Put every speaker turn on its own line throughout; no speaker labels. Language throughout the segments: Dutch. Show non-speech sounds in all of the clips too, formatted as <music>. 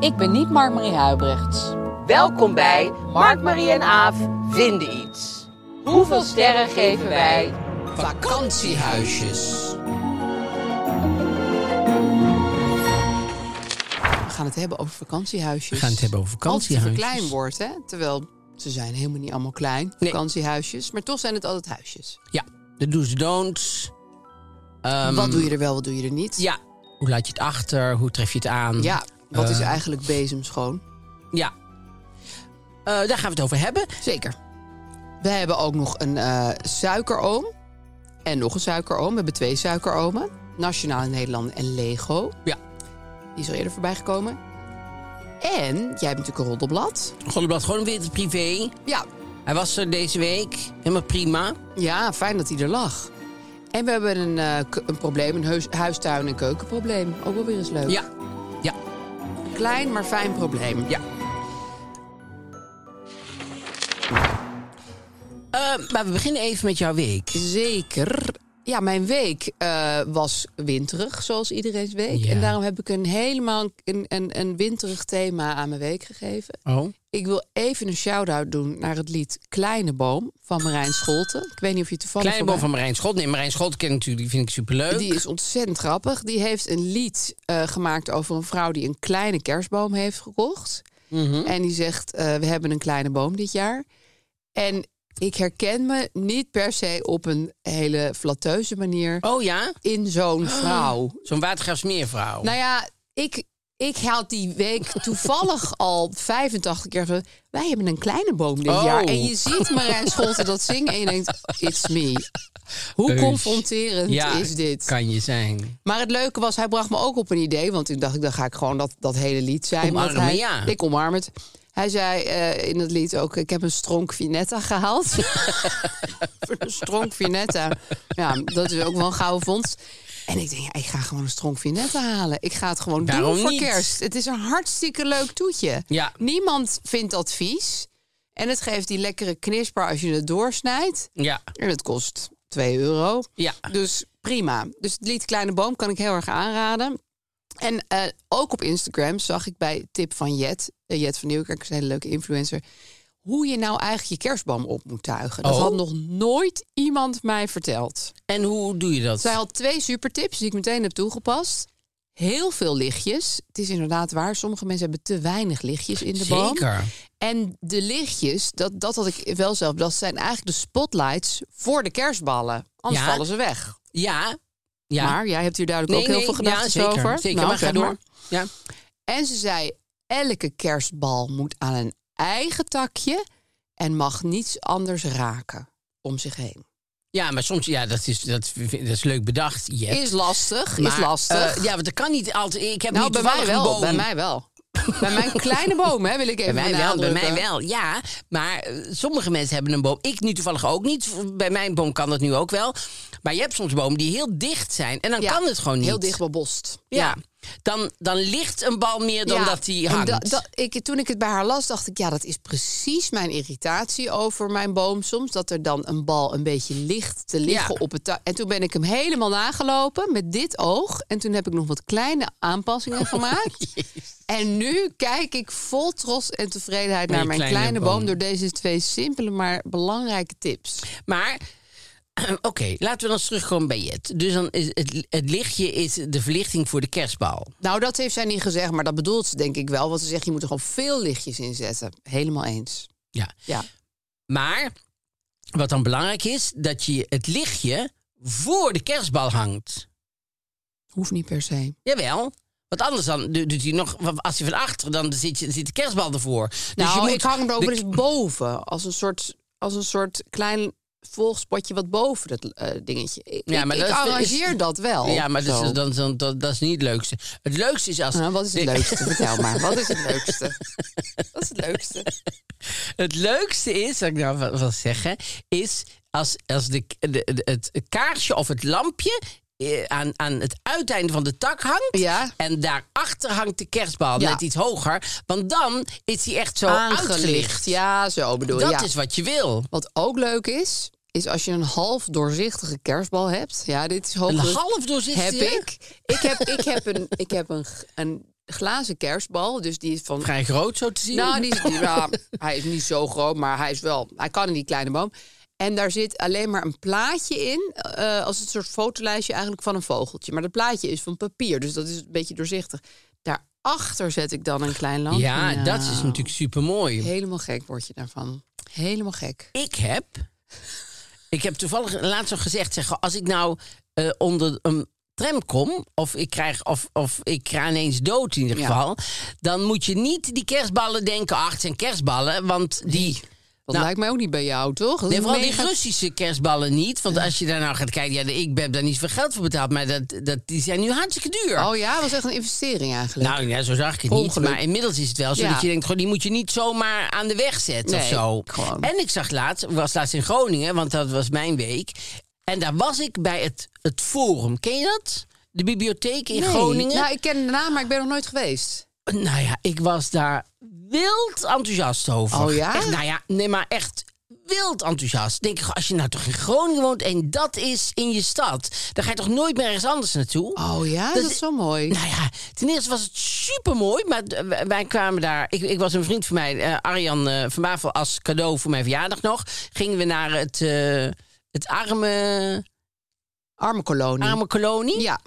Ik ben niet Mark-Marie Huibrechts.
Welkom bij Mark, Marie en Aaf vinden iets. Hoeveel sterren geven wij?
Vakantiehuisjes.
We gaan het hebben over vakantiehuisjes.
We gaan het hebben over vakantiehuisjes.
Altijd een klein woord, hè? Terwijl ze zijn helemaal niet allemaal klein, vakantiehuisjes. Maar toch zijn het altijd huisjes.
Ja, de do's en don'ts. Ehm,
wat doe je er wel, wat doe je er niet?
Ja, hoe laat je het achter? Hoe tref je het aan?
Ja, wat is
Eh,
eigenlijk bezemschoon?
Ja. Eh, daar gaan we het over hebben.
Zeker. We hebben ook nog een eh, suikeroom. En nog een suikeroom. We hebben twee suikeromen. Nationaal in Nederland en Lego.
Ja.
Die is al eerder voorbij gekomen. En jij hebt natuurlijk een roddelblad.
Golleblad, gewoon weer het privé.
Ja,
Hij was er deze week. Helemaal prima.
Ja, fijn dat hij er lag. En we hebben een, eh, k- een probleem, een huis, huistuin- en keukenprobleem. Ook wel weer eens leuk.
Ja. Ja.
Klein, maar fijn probleem.
Ja. Eh, maar we beginnen even met jouw week.
Zeker. Ja, mijn week eh, was winterig, zoals iedereen's week.
Ja.
En daarom heb ik een helemaal een, een, een winterig thema aan mijn week gegeven.
Oh.
Ik wil even een shout-out doen naar het lied Kleine Boom van Marijn Scholten. Ik weet niet of je toevallig...
Kleine boom van Marijn Schot. Nee, Marijn Schot ken ik natuurlijk. Die vind ik superleuk.
Oh, Die is ontzettend grappig. Die heeft een lied eh, gemaakt over een vrouw die een kleine kerstboom heeft gekocht.
Mhm.
En die zegt, eh, we hebben een kleine boom dit jaar. En ik herken me niet per se op een hele flatteuze manier
Oh ja?
in
<gasps>
zo'n vrouw.
Zo'n watergraafsmeervrouw.
Nou ja, ik, ik had die
<laughs>
week toevallig al 85 keer gezegd... wij hebben een kleine boom dit
Oh.
jaar. En je ziet Marijn Scholten
<laughs>
dat zingen en je denkt, it's me. Hoe
Eus.
confronterend
ja,
is dit?
kan je zijn.
Maar het leuke was, hij bracht me ook op een idee. Want ik dacht, dan ga ik gewoon dat, dat hele lied zijn. want
Omarmen,
hij,
ja.
Ik omarm het. Hij zei eh, in het lied ook, ik heb een stronk vinetta gehaald. <laughs> Voor een stronk vinetta. Ja, dat is ook wel een gouden vondst. En ik denk, ja, ik ga gewoon een stronk vinetta halen. Ik ga het gewoon
Waarom
doen voor
niet?
kerst. Het is een hartstikke leuk toetje.
Ja.
Niemand vindt dat vies. En het geeft die lekkere knisper als je het doorsnijdt.
Ja.
En het kost 2 euro.
Ja.
Dus prima. Dus het lied Kleine Boom kan ik heel erg aanraden. En eh, ook op Instagram zag ik bij tip van Jet, eh, Jet van Nieuwkerk, is een hele leuke influencer, hoe je nou eigenlijk je kerstboom op moet tuigen. Dat
Oh.
had nog nooit iemand mij verteld.
En hoe doe je dat?
Zij had twee supertips die ik meteen heb toegepast. Heel veel lichtjes. Het is inderdaad waar, sommige mensen hebben te weinig lichtjes in de boom.
Zeker.
En de lichtjes, dat, dat had ik wel zelf, dat zijn eigenlijk de spotlights voor de kerstballen. Anders
Ja.
vallen ze weg.
Ja. Ja.
Maar jij hebt hier duidelijk ook heel veel gedachten
ja, zeker,
over.
Zeker,
Nou,
maar ga
zeg
door. Ja.
En ze zei, elke kerstbal moet aan een eigen takje en mag niets anders raken om zich heen.
ja, maar soms, ja, dat is, dat, vind- dat is leuk bedacht. Je hebt-
Is lastig,
maar,
is lastig.
eh, ja, want dat kan niet altijd. Ik heb
nou,
niet
bij mij
toevallig een
wel,
boom.
bij mij wel. bij mijn kleine boom, hè, wil ik
Bij
even
mij wel, bij mij
benadrukken.
wel, ja. Maar eh, sommige mensen hebben een boom. Ik nu toevallig ook niet. Bij mijn boom kan dat nu ook wel. Maar je hebt soms bomen die heel dicht zijn. En dan
Ja,
kan het gewoon niet.
Heel dicht bebost.
Ja. Dan, dan ligt een bal meer dan
Ja,
dat die
en
hangt.
da- da- ik, toen ik het bij haar las, dacht ik, ja, dat is precies mijn irritatie over mijn boom. Soms dat er dan een bal een beetje ligt te liggen
Ja.
op het ta- En toen ben ik hem helemaal nagelopen met dit oog. En toen heb ik nog wat kleine
Oh, <laughs>
aanpassingen gemaakt. en nu kijk ik vol trots en tevredenheid
Naar
naar
je
mijn
kleine
kleine, boom.
boom.
door deze twee simpele maar belangrijke tips.
Maar, <clears throat> oké, laten we dan eens terugkomen bij Jet. Dus dan is het, het lichtje is de verlichting voor de kerstbal.
Nou, dat heeft zij niet gezegd, maar dat bedoelt ze denk ik wel. Want ze zegt, je moet er gewoon veel lichtjes in zetten. Helemaal eens.
Ja.
Ja.
Maar Wat dan belangrijk is, dat je het lichtje voor de kerstbal hangt.
Hoeft niet per se.
Jawel. Want anders dan do- doet hij nog, als hij van achter, dan zit, je, zit de kerstbal ervoor. Dus
Nou,
je moet
ik hang er ook
de-
wel eens boven. Als een soort, als een soort klein volgspotje wat boven dat eh, dingetje. Ik,
Ja, maar
ik
dat is-
arrangeer
is-
dat wel.
Ja, maar dus dat
zo.
is, dan, dan, dat, dat is niet het leukste. Het leukste is als...
Nou, wat is het
de-
leukste? Vertel maar. Wat is het leukste? Wat is het leukste?
<laughs> Het leukste is, wat ik nou wil- wil zeggen, is als, als de, de, de- het kaarsje of het lampje eh, aan, aan het uiteinde van de tak hangt.
Ja.
En daarachter hangt de kerstbal
Ja.
net iets hoger. Want dan is die echt zo uitgelicht.
Ja, zo bedoel
Dat
ja.
is wat je wil.
Wat ook leuk is, is als je een half doorzichtige kerstbal hebt. Ja, dit is
Een
hopelijk...
half doorzichtig.
heb ik. Ik heb, ik heb, een, ik heb een, g- een glazen kerstbal, dus die is van...
Vrij groot zo te zien.
Nou, die is, die- nou, hij is niet zo groot, maar hij is wel... Hij kan in die kleine boom. En daar zit alleen maar een plaatje in, eh, als een soort fotolijstje eigenlijk van een vogeltje. Maar dat plaatje is van papier, dus dat is een beetje doorzichtig. Daarachter zet ik dan een klein lampje.
ja, dat is
Nou,
natuurlijk super mooi.
Helemaal gek word je daarvan. Helemaal gek.
Ik heb. Ik heb toevallig laatst al gezegd: zeg, als ik nou eh, onder een tram kom, of ik krijg, of, of ik ga ineens dood in ieder
Ja.
geval, dan moet je niet die kerstballen denken. Ach, het zijn kerstballen, want die.
Dat lijkt mij ook niet bij jou, toch?
Nou.
Dat
Nee,
is
vooral die
mega-
Russische kerstballen niet. Want als je daar nou gaat kijken, ja, ik heb daar niet veel geld voor betaald. Maar dat, dat, die zijn nu hartstikke duur.
Oh ja, was echt een investering eigenlijk.
nou ja, zo zag ik het
Ongeluk.
niet. Maar inmiddels is het wel zo
Ja.
dat je denkt, goh, die moet je niet zomaar aan de weg zetten of
Nee,
zo.
gewoon.
En ik zag laatst, was laatst in Groningen, want dat was mijn week. En daar was ik bij het, het Forum. Ken je dat? De bibliotheek in
Nee.
Groningen.
Nou, ik ken de naam, maar ik ben nog nooit geweest.
Nou ja, ik was daar wild enthousiast over.
Oh ja?
Echt, nou ja, nee, maar echt wild enthousiast. Denk ik, als je nou toch in Groningen woont en dat is in je stad, dan ga je toch nooit meer ergens anders naartoe?
Oh ja, dat, is zo mooi.
Nou ja, ten eerste was het super mooi, maar eh, wij- wij kwamen daar. Ik, ik was een vriend van mij, eh, Arjan eh, van Bavel, als cadeau voor mijn verjaardag nog. Gingen we naar het, eh, het arme,
Armenkolonie.
arme kolonie.
Mm. Ja.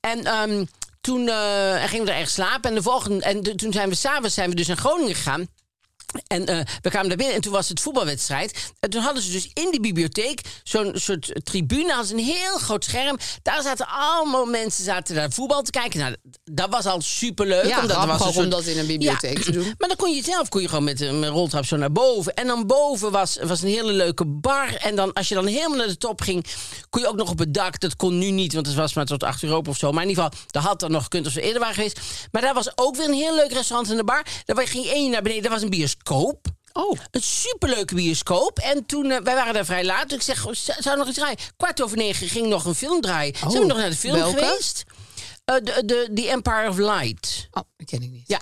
En ehm, toen eh, gingen we daar echt slapen. En, de volgende, en de- toen zijn we s'avonds zijn we dus naar Groningen gegaan. En eh, we kwamen daar binnen en toen was het voetbalwedstrijd. En toen hadden ze dus in die bibliotheek zo'n soort tribune, hadden ze een heel groot scherm. Daar zaten allemaal mensen zaten daar voetbal te kijken. Nou, dat was al superleuk.
Ja,
omdat er
grappig
was
ook
een
om
soort-
dat in een bibliotheek te doen.
Maar dan kon je zelf kon je gewoon met een roltrap zo naar boven. En dan boven was, was een hele leuke bar. En dan, als je dan helemaal naar de top ging, kon je ook nog op het dak. Dat kon nu niet, want het was maar tot 8 uur open of zo. Maar in ieder geval, dat had dan nog gekund als we eerder waren geweest. Maar daar was ook weer een heel leuk restaurant in de bar. Daar ging één naar beneden, daar was een bioscoop.
Oh.
Een superleuke bioscoop. En toen, eh, wij waren daar vrij laat. Dus ik zeg, goh, zou zou nog eens draaien? Kwart over negen ging nog een film draaien. Zijn we nog naar de film
Oh, welke?
geweest? Eh, de, de, The Empire of Light.
Oh, dat ken ik niet.
Ja,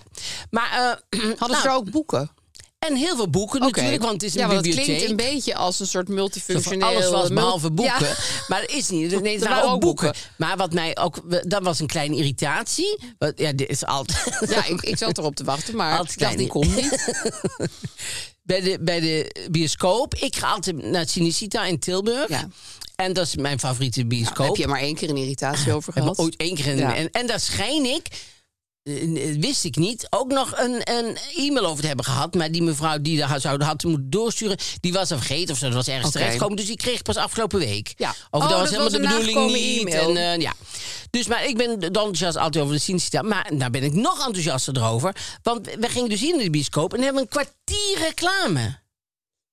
maar eh, <clears throat>
Hadden
nou,
ze er ook boeken?
en heel veel boeken
Oké.
natuurlijk, want het is een
ja, want dat
bibliotheek.
klinkt een beetje als een soort
Zo van
multifunctioneel... eh,
alles was
mul-
behalve boeken.
Ja.
Maar dat is niet. Nee,
Er
het waren ook boeken. Maar wat mij ook. Dat was een kleine irritatie. Wat- Ja, dit is altijd.
<laughs> Ja, ik, ik zat erop te wachten, maar
Altijd
ik dacht,
klein.
die komt niet.
<laughs> bij de, bij de bioscoop. Ik ga altijd naar Cinecita in Tilburg.
Ja.
En dat is mijn favoriete bioscoop.
Daar heb je maar één keer een irritatie over
We
gehad.
hebben ooit één keer. een-
Ja.
En, en daar schijn ik. eh, eh, Wist ik niet. Ook nog een, een e-mail over te hebben gehad. Maar die mevrouw die daar zou had moeten doorsturen. Die was dat vergeten of zo. Dat was ergens
Oké.
terechtgekomen. Dus die kreeg ik pas afgelopen week.
Ja.
Of
Oh,
dat was
dat
helemaal
was
de
een
bedoeling
nagekomen
niet. En,
e-mail.
eh, ja. Dus maar ik ben dan enthousiast altijd over de Cinecita. Maar daar ben ik nog enthousiaster erover. Want we gingen dus hier in de bioscoop. En hebben een kwartier reclame.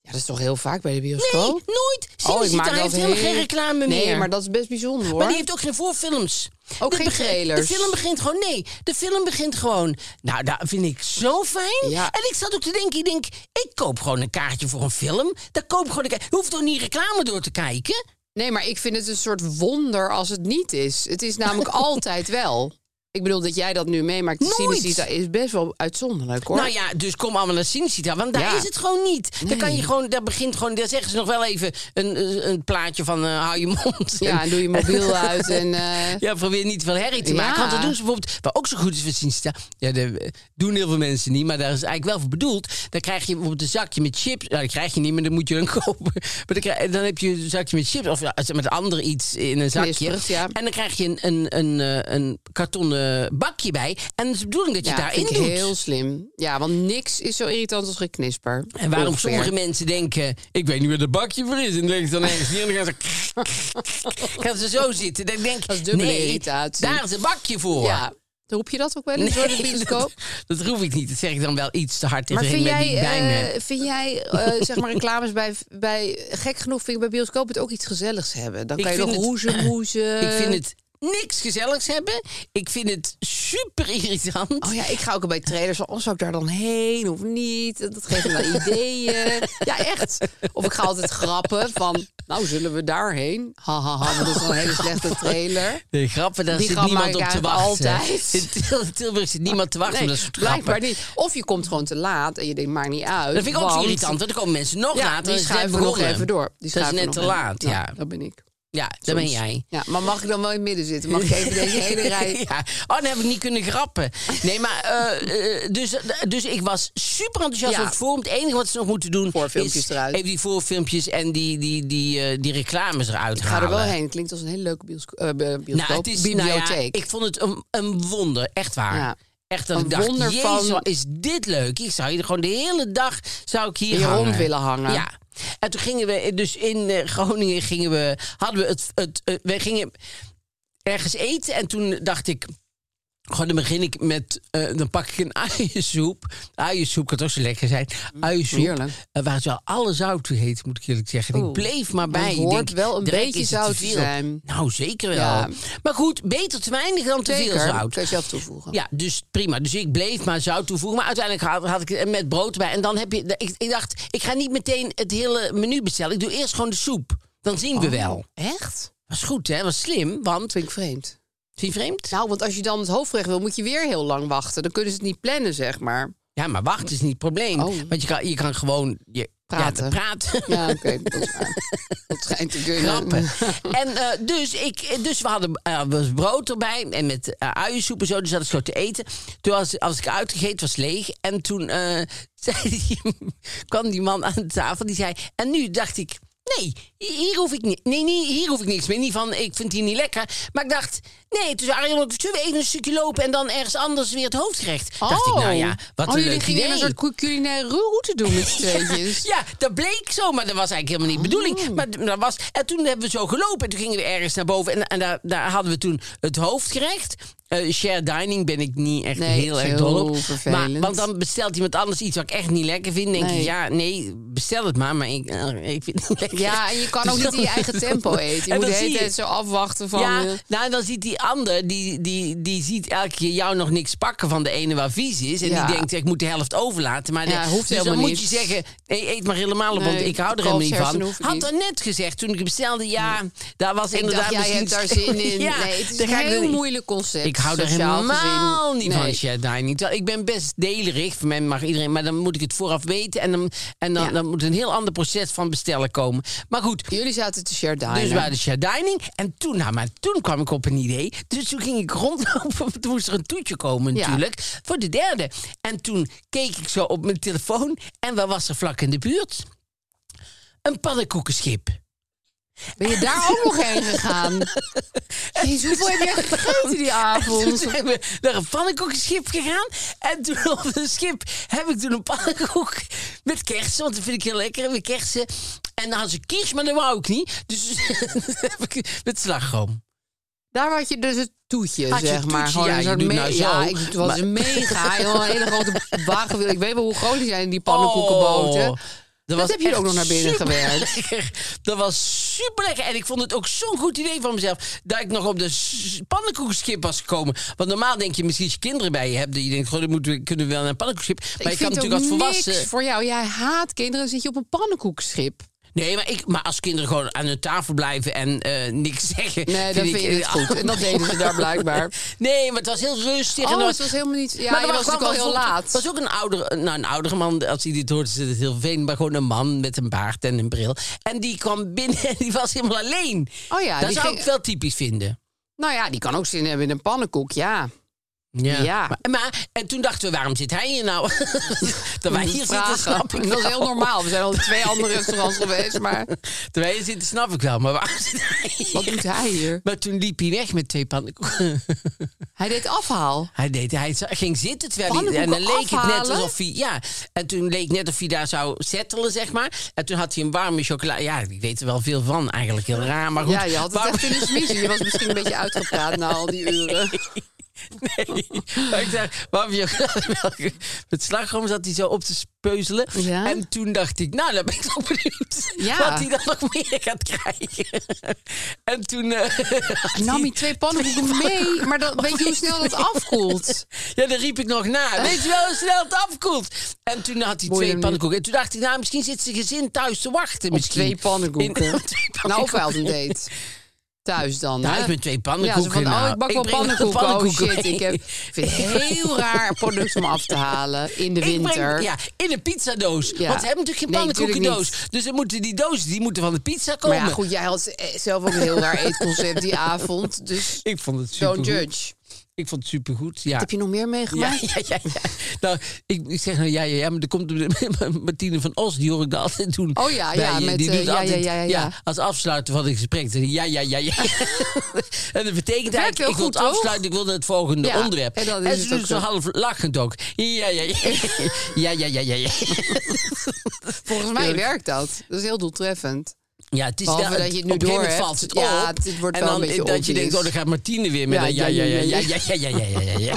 Ja, dat is toch heel vaak bij de
Nee,
bioscoop? Oh,
nooit. Cinecita
dat
heeft helemaal
heel-
geen reclame meer.
Nee, maar dat is best bijzonder hoor.
Maar die heeft ook geen voorfilms.
Ook geen
begin-
trailers.
De film begint gewoon, nee, de film begint gewoon. Nou, dat vind ik zo fijn.
Ja.
En ik zat ook te denken, ik denk, ik koop gewoon een kaartje voor een film. Dan koop ik gewoon een kaartje. Je hoeft toch niet reclame door te kijken?
Nee, maar ik vind het een soort wonder als het niet is. Het
<laughs>
is namelijk altijd wel. Ik bedoel, dat jij dat nu meemaakt, de
Nooit.
Cinecita, is best wel uitzonderlijk hoor.
Nou ja, dus kom allemaal naar Cinecita, want daar
Ja.
is het gewoon niet.
Nee.
Dan kan je gewoon, daar begint gewoon, daar zeggen ze nog wel even een, een plaatje van eh, hou je mond.
Ja, en doe je
<laughs>
mobiel uit en... eh,
Ja, probeer niet veel herrie te
Ja.
maken. Want dat doen ze bijvoorbeeld, wat ook zo goed is voor Sinsta. Ja, dat eh, doen heel veel mensen niet, maar daar is eigenlijk wel voor bedoeld. Dan krijg je bijvoorbeeld een zakje met chips. Nou, dat krijg je niet, maar dan moet je dan <laughs> kopen. Maar dan, krijg- dan heb je een zakje met chips of ja, met ander iets in een zakje.
Knisperd, ja.
En dan krijg je een, een, een, eh, een kartonnen eh, bakje bij. En het is de bedoeling dat je
Ja,
het daarin
vind ik
doet.
heel slim. Ja, want niks is zo irritant als geknisper.
En waarom
Ongeveer.
sommige mensen denken, ik weet niet waar dat bakje voor is. En dan denk ik dan ergens neer en dan gaan ze, gaan ze <laughs> zo zitten. Dan denk ik,
Dat is dubbele
nee,
irritatie.
daar is een bakje voor.
Ja, roep je dat ook wel eens door de
Nee, <laughs>
bioscoop?
Dat, dat roep ik niet. Dat zeg ik dan wel iets te hard
Maar
tegen
vind
iemand
jij,
die bij me-
eh, vind jij eh, zeg maar reclames bij, bij... Gek genoeg vind ik bij bioscoop het ook iets gezelligs hebben. Dan
Ik
kan je
vind
nog
het-
roezemoezen.
<laughs> Ik vind het niks gezelligs hebben. Ik vind het super irritant.
Oh ja, ik ga ook bij trailers. van, Oh, zou ik daar dan heen of niet? Dat geeft me
<laughs>
wel ideeën. Ja, echt. Of ik ga altijd grappen van... Nou, zullen we daarheen? Hahaha, ha, ha, want dat is wel een hele slechte trailer.
De grappen, daar
Die
zit
grap
niemand
maak
op
ik
te
eigenlijk
wachten.
altijd.
<laughs> In Til- Tilburg zit niemand te wachten
Nee,
op dat soort grappen.
blijkbaar niet. Of je komt gewoon te laat en je denkt, maakt niet uit.
Dat vind ik ook zo
want-
irritant, want dan komen mensen nog
Ja,
later.
die
en ze
schuiven
zijn
nog
begonnen.
even door. Die
Dat is
schuiven
net
nog
te
even-
laat,
Nou,
ja.
Dat ben ik.
Ja, daar ben
Soms.
jij.
Ja, maar mag ik dan wel in het midden zitten? Mag ik even deze hele rij...
<laughs> Ja. Oh, dan heb ik niet kunnen grappen. Nee, maar eh, eh, dus, dus ik was super enthousiast
Ja.
over het forum. Het enige wat ze nog moeten doen
Voorfilmpjes
is
eruit.
even die voorfilmpjes en die, die, die, eh, die reclames eruit
Ik ga er wel
halen.
heen. Klinkt als een hele leuke biosco- eh, bi- bioscoop.
Nou, het is, nou ja,
bibliotheek.
ik vond het een, een wonder, echt waar.
Ja.
Echt dat
Een
ik dacht,
wonder
jezus,
van-
wat is dit leuk. Ik zou hier gewoon de hele dag zou ik hier
Hier
hangen.
rond willen hangen.
Ja. En toen gingen we, dus in eh, Groningen gingen we, hadden we het, het eh, we gingen ergens eten en toen dacht ik, Gewoon, dan begin ik met, eh, dan pak ik een <laughs> uiensoep. Uiensoep kan toch zo lekker zijn. Uiensoep.
Mm, Heerlijk.
Eh, waar het wel alle zout toe heet, moet ik eerlijk zeggen.
Oeh.
Ik bleef maar bij.
Maar het
Ik
hoort wel een
"Drek,
beetje
is het te
zout te
veel?"
zijn.
Nou, zeker wel.
Ja.
Maar goed, beter te weinig dan te veel
Zeker.
zout.
Kun je zelf toevoegen.
Ja, dus prima. Dus ik bleef maar zout toevoegen. Maar uiteindelijk had, had ik het met brood bij. En dan heb je, ik, ik dacht, ik ga niet meteen het hele menu bestellen. Ik doe eerst gewoon de soep. Dan zien
Oh.
we wel.
Echt?
Was goed, hè? Was slim, want...
Vind ik vreemd.
Vind je vreemd?
Nou, want als je dan het hoofdgerecht wil, moet je weer heel lang wachten. Dan kunnen ze het niet plannen, zeg maar.
Ja, maar wacht is niet het probleem.
Oh.
Want je kan, je kan gewoon je,
Praten.
Ja, praten.
Ja, oké. dat is
<laughs>
waar. Dat schijnt te kunnen.
Grappen. <laughs> en eh, dus, ik, dus we hadden eh, was brood erbij en met eh, uiensoep en zo. Dus dat is zo te eten. Toen was, als ik uitgegeten was leeg. En toen eh, <laughs> zei die, kwam die man aan de tafel. Die zei, en nu dacht ik, nee, hier hoef ik, ni- nee, nee, hier hoef ik niks meer. Niet van, ik vind hier niet lekker. Maar ik dacht, nee, dus Arjan, zullen we even een stukje lopen... en dan ergens anders weer het hoofdgerecht? Dacht ik, nou ja, wat
oh,
een
jullie
leuk
gingen
idee.
een soort cu- culinaire route doen met
<laughs>
z'n tweetjes.
Ja, dat bleek zo, maar dat was eigenlijk helemaal niet de
Oh.
bedoeling. Maar d- dat was, en toen hebben we zo gelopen en toen gingen we ergens naar boven. En, en daar, daar hadden we toen het hoofdgerecht. Eh share dining ben ik niet echt
Nee,
heel
is
erg dol
heel
op.
vervelend.
Maar, want dan bestelt iemand anders iets wat ik echt niet lekker vind. denk
Nee.
ik, ja, nee, bestel het maar, maar ik, eh, ik vind het niet lekker.
Ja, en je kan ook
<laughs> Dus
niet in je
dan-
eigen tempo eten. Je
En
moet de
dan zie
hele
je-
tijd zo afwachten van... eh,
ja, nou, dan ziet die ander, die, die, die ziet elke keer jou nog niks pakken van de ene waar vies is. En
Ja.
die denkt, ik moet de helft overlaten. Maar
Ja,
nee,
hoeft
dus dan
helemaal
moet
niet.
je zeggen, nee, eet maar helemaal op, want
Nee,
ik hou er helemaal niet van.
kalfshersenen hoef ik
Had
niet.
er net gezegd, toen ik bestelde, ja, daar was
Ik
inderdaad
dacht, jij
misschien...
hebt daar zin in.
<laughs> ja,
nee, het is
daar
een
ga ik
heel
dan-
moeilijk concept.
Ik hou er
sociaal
helemaal
gezien.
niet
Nee.
van, share dining. Terwijl Ik ben best delerig, van mij mag iedereen, maar dan moet ik het vooraf weten. En dan, en dan,
Ja.
dan moet een heel ander proces van bestellen komen. Maar goed,
Jullie zaten te share diner.
dus we hadden share dining. En toen, nou, maar toen kwam ik op een idee. Dus toen ging ik rondlopen. <laughs> want Toen moest er een toetje komen
Ja.
natuurlijk. Voor de derde. En toen keek ik zo op mijn telefoon. En wat was er vlak in de buurt? Een pannenkoekenschip.
Ben je daar
<laughs>
ook nog heen gegaan? Jezus, hoeveel heb jij gegeten
<laughs>
die
Toen
avond?
zijn we naar een pannenkoekenschip gegaan. En toen <laughs> op een schip heb ik toen een pannenkoek met kersen. Want dat vind ik heel lekker, met kersen. En dan hadden ze kies, maar dat wou ik niet. Dus <laughs> dat heb ik met slagroom.
Daar had je dus het toetje,
Had je
zeg
het
maar.
toetje,
Gewoon
ja,
een
je
soort
doet
me-
nou zo,
ja, ik was
maar-
een mega, joh, een hele
<laughs>
grote wagen. Ik weet wel hoe groot die zijn, in die pannenkoekenboten.
Oh,
Dat heb je
echt
ook nog naar binnen
super
gewerkt.
lekker. Dat was super lekker. En ik vond het ook zo'n goed idee van mezelf. Dat ik nog op de s- pannenkoekschip was gekomen. Want normaal denk je misschien als je kinderen bij je hebt. Dat je denkt, goh, dan moeten we, kunnen we wel naar een pannenkoekschip. Maar je kan
ik vind
natuurlijk als
ook
volwassen.
niks voor jou. Jij haat kinderen, zit je op een pannenkoekschip.
Nee, maar, ik, maar als kinderen gewoon aan hun tafel blijven en eh, niks zeggen.
Nee, dan vind je het goed. En <laughs> dat deden ze daar blijkbaar.
<laughs>
<laughs>
Nee, maar het was heel rustig. en
Oh,
er
het was helemaal niet... Ja, je
er
was natuurlijk al heel laat.
Er was ook een oudere, nou, een oudere man, als hij dit hoort, is het heel vervelend. Maar gewoon een man met een baard en een bril. En die kwam binnen en die was helemaal alleen.
Oh ja,
dat
die
zou
ging-
ik wel typisch vinden.
Nou ja, die kan ook zin hebben in een pannenkoek, ja.
Ja.
Ja.
Maar, maar- en toen dachten we, waarom zit hij hier
<laughs>
nou? dat wij hier zitten,
Vragen.
snap ik
Dat is
wel.
heel
<laughs>
normaal. We zijn al in twee andere <laughs> restaurants geweest, maar
Terwijl je zit, snap ik wel. Maar waarom zit hij hier?
wat doet hij hier?
Maar toen liep hij weg met twee pannenkoeken.
Hij deed afhaal.
hij, deed, hij za- ging zitten terwijl hij... En dan
Pannenkoeken
leek het net
afhalen?
alsof hij... Ja, en toen leek net of hij daar zou settelen, zeg maar. En toen had hij een warme chocola. Ja, ik weet er wel veel van. Eigenlijk heel raar, maar goed.
Ja, je had het
Warme-
echt in de smiezen. Je was misschien een beetje uitgepraat na al die uren.
Nee. <laughs> Maar ik dacht, waarom je met slagroom zat hij zo op te speuzelen.
Ja.
En toen dacht ik, nou, dan ben ik wel benieuwd
Ja.
wat hij dan nog meer gaat krijgen. En toen... eh, <laughs> had
Nam
hij-
hij twee pannenkoeken mee, maar dan weet je hoe
<laughs>
snel dat afkoelt?
Ja, dan riep ik nog na. Weet je wel hoe snel het afkoelt? En toen had hij
Boeien hem
twee
niet.
pannenkoeken. En toen dacht ik, nou, misschien zit zijn gezin thuis te wachten.
Op
misschien.
twee pannenkoeken.
<laughs> In- op twee
Nou, of
pannenkoeken.
hij had een date. Thuis dan, hè?
Thuis met twee pannenkoeken.
Ja, ze van, oh,
nou.
ik bak wel
breng nog een
pannenkoeken. Oh
pannenkoek
shit,
mee.
ik heb, vind het heel raar een product om af te halen in de
Ik breng-
winter.
ja, in een pizzadoos.
Ja.
Want ze hebben natuurlijk geen
Nee, natuurlijk
pannenkoekendoos. dus dan moeten die dozen die moeten van de pizza komen.
Maar ja, goed, jij had eh, zelf ook een heel raar eetconcept die avond. Dus
<laughs> Ik vond het
don't
supergoed.
judge.
Ik vond het supergoed, ja.
Wat heb je nog meer
ja,
meegemaakt?
ja, ja, ja. Nou, ik, ik zeg nou ja, ja, ja, maar er komt <laughs> een- Martine van Os, die hoor ik dat altijd doen.
Oh ja,
bij
ja,
je.
met,
die
eh, ja, ja, ja, ja, ja.
als afsluiter van het gesprek. Dan, ja, ja, ja, ja.
<laughs>
en dat betekent
heel
eigenlijk, ik wil
goed,
het
toch?
afsluiten, ik wil naar het volgende
Ja,
onderwerp.
en dat is
ze
het
doen
ook
zo
zo.
half lachend ook. Ja, ja, <laughs> ja. ja, ja, ja, ja, ja.
Volgens mij werkt dat. Dat is heel doeltreffend.
Ja, het is
Behalve
wel,
dat je het nu
op een gegeven moment
doorhebt.
valt het
Ja,
op.
het wordt
en
wel
dan
een beetje
dat je denkt,
obvious.
oh, dan gaat Martine weer met
Ja,
een ja, ja, ja, ja, ja, ja, ja, ja, ja, ja.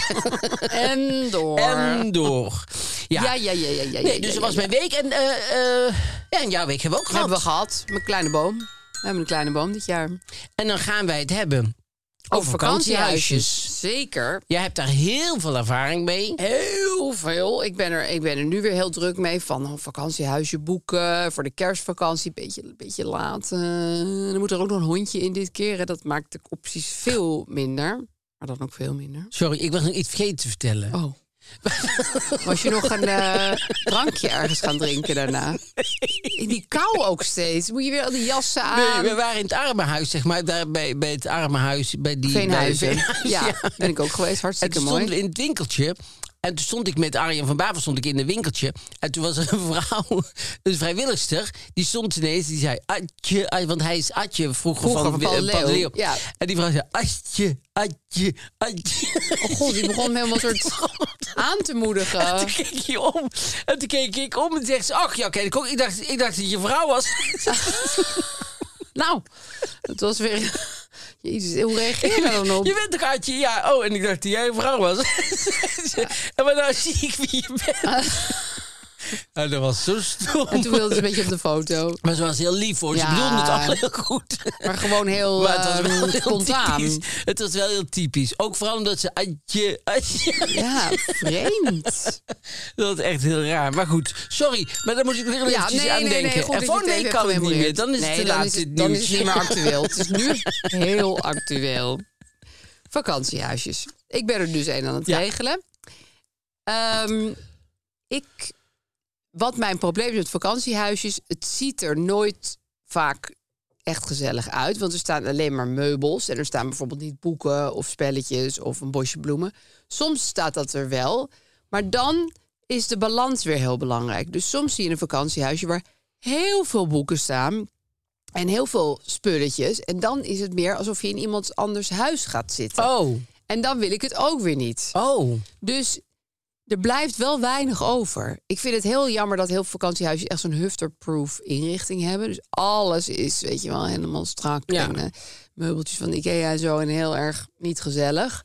<laughs> En door.
En door. Ja,
Ja, ja, ja, ja, ja.
Nee,
ja,
dus
ja,
dat was
ja.
mijn week. En, eh, eh, ja, en jouw week hebben we ook gehad.
Hebben we gehad. Mijn kleine boom. We hebben een kleine boom dit jaar.
En dan gaan wij het hebben over vakantiehuisjes.
Zeker.
Jij hebt daar heel veel ervaring mee.
Heel veel. Ik ben, er, ik ben er nu weer heel druk mee. Van een vakantiehuisje boeken voor de kerstvakantie. Beetje, beetje laat. Eh, er moet er ook nog een hondje in dit keer. hè. Dat maakt de opties veel minder. Maar dan ook veel minder.
Sorry, ik was nog iets vergeten te vertellen.
Oh. <laughs> Was je nog een eh, drankje ergens gaan drinken daarna? In die kou ook steeds. Moet je weer al die jassen aan?
Nee, we waren in het armenhuis, zeg maar. Daar bij, bij het armenhuis. Bij die,
Geen
bij
huizen.
Veenhuizen, <laughs>
Ja, ben ik ook geweest.
En
Hartstikke
toen stonden
mooi.
we in het winkeltje. En toen stond ik met Arjen van Bavel stond ik in een winkeltje. En toen was er een vrouw, een vrijwilligster, die stond ineens. Die zei, Atje, Atje," want hij is Atje vroeger,
Vroeger
van,
van
eh,
Leeuw.
Leeuw.
Ja.
En die vrouw zei, Atje, Atje, Atje. <laughs>
Oh god, die begon me helemaal soort aan te
En
moedigen.
toen keek hij om. En toen keek ik om en zegt ze, ach ja, kijk, ik dacht, ik dacht dat je vrouw
<laughs>
was.
Nou, het was weer... <laughs> Jezus, hoe reageer je daar dan op?
Je bent toch Atje? Ja, oh, en ik dacht dat jij een vrouw was. <laughs> en maar nou zie ik wie je <laughs> bent. En dat was zo stom.
Ah. En toen wilde ze een beetje op de foto.
Maar ze was heel lief hoor. Ze
Ja.
bedoelde het allemaal heel goed.
Maar gewoon heel,
Maar het was wel
ehm,
heel
spontaan.
typisch. Het was wel heel typisch. Ook vooral omdat ze... Adje, adje. <laughs>
Ja, vreemd.
Dat was echt heel raar. Maar goed, sorry. Maar daar moet ik weer
<laughs> Ja,
eventjes
nee,
aan
nee, nee,
denken.
goed dat
en
je
volgende
het
week
even
kan het niet meer.
gememoreerd.
Dan is het
Nee,
te
dan
laat,
is
dit
het- Dan is
nieuws.
het niet meer actueel. Het is <laughs> nu heel actueel. Vakantiehuisjes. Ik ben er dus een aan het
Ja.
regelen. Ehm, ik, wat mijn probleem is met vakantiehuisjes... het ziet er nooit vaak echt gezellig uit. Want er staan alleen maar meubels. En er staan bijvoorbeeld niet boeken of spelletjes of een bosje bloemen. Soms staat dat er wel. Maar dan is de balans weer heel belangrijk. Dus soms zie je een vakantiehuisje waar heel veel boeken staan. En heel veel spulletjes. En dan is het meer alsof je in iemands anders huis gaat zitten.
Oh,
En dan wil ik het ook weer niet.
oh.
Dus er blijft wel weinig over. Ik vind het heel jammer dat heel veel vakantiehuisjes echt zo'n hufterproof inrichting hebben. Dus alles is, weet je wel, helemaal strak.
Ja.
En eh, meubeltjes van Ikea en zo. En heel erg niet gezellig.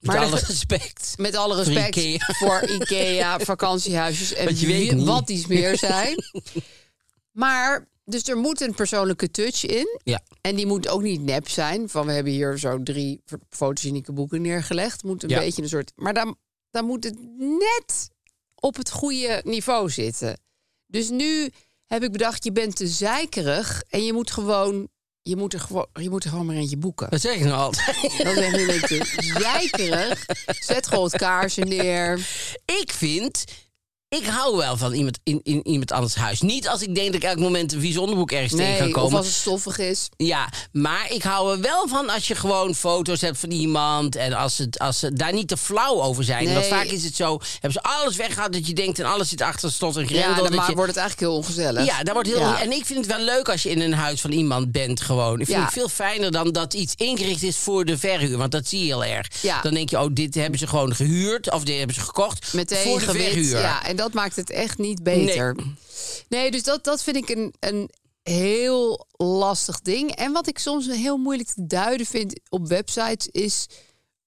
Met
Maar
alle
de- <laughs>
respect.
Met alle respect voor
Ikea. <laughs>
Ikea, vakantiehuisjes en
Want je weet
wie-
niet.
wat die meer
<laughs>
zijn. maar, dus er moet een persoonlijke touch in.
Ja.
En die moet ook niet nep zijn. Van we hebben hier zo drie v- fotogenieke boeken neergelegd. Moet een
Ja.
beetje een soort. Maar dan, dan moet het net op het goede niveau zitten. Dus nu heb ik bedacht, je bent te zeikerig en je moet gewoon. Je moet, er gewoon, je moet er gewoon maar eentje
<laughs>
boeken.
Dat zeg ik nou altijd.
Dan ben je een beetje zeikerig. Zet gewoon het kaarsje neer.
Ik vind Ik hou wel van iemand in, in iemand anders huis. Niet als ik denk dat ik elk moment een vies onderbroek ergens tegen kan
Nee,
komen.
of als het stoffig is.
Ja, maar ik hou er wel van als je gewoon foto's hebt van iemand. En als ze als ze daar niet te flauw over zijn. Want
Nee.
vaak is het zo, hebben ze alles weggehaald dat je denkt... en alles zit achter slot en grendel.
Ja, dan
dat
maar
je-
wordt het eigenlijk heel ongezellig.
ja, daar wordt heel.
Ja.
En ik vind het wel leuk als je in een huis van iemand bent, gewoon. Ik vind
Ja.
het veel fijner dan dat iets ingericht is voor de verhuur. Want dat zie je heel erg.
Ja.
Dan denk je, oh, dit hebben ze gewoon gehuurd. Of dit hebben ze gekocht.
Meteen
voor de
gewit.
verhuur.
Ja, en dat maakt het echt niet beter. Nee, dus dat, dat vind ik een, een heel lastig ding. En wat ik soms heel moeilijk te duiden vind op websites is...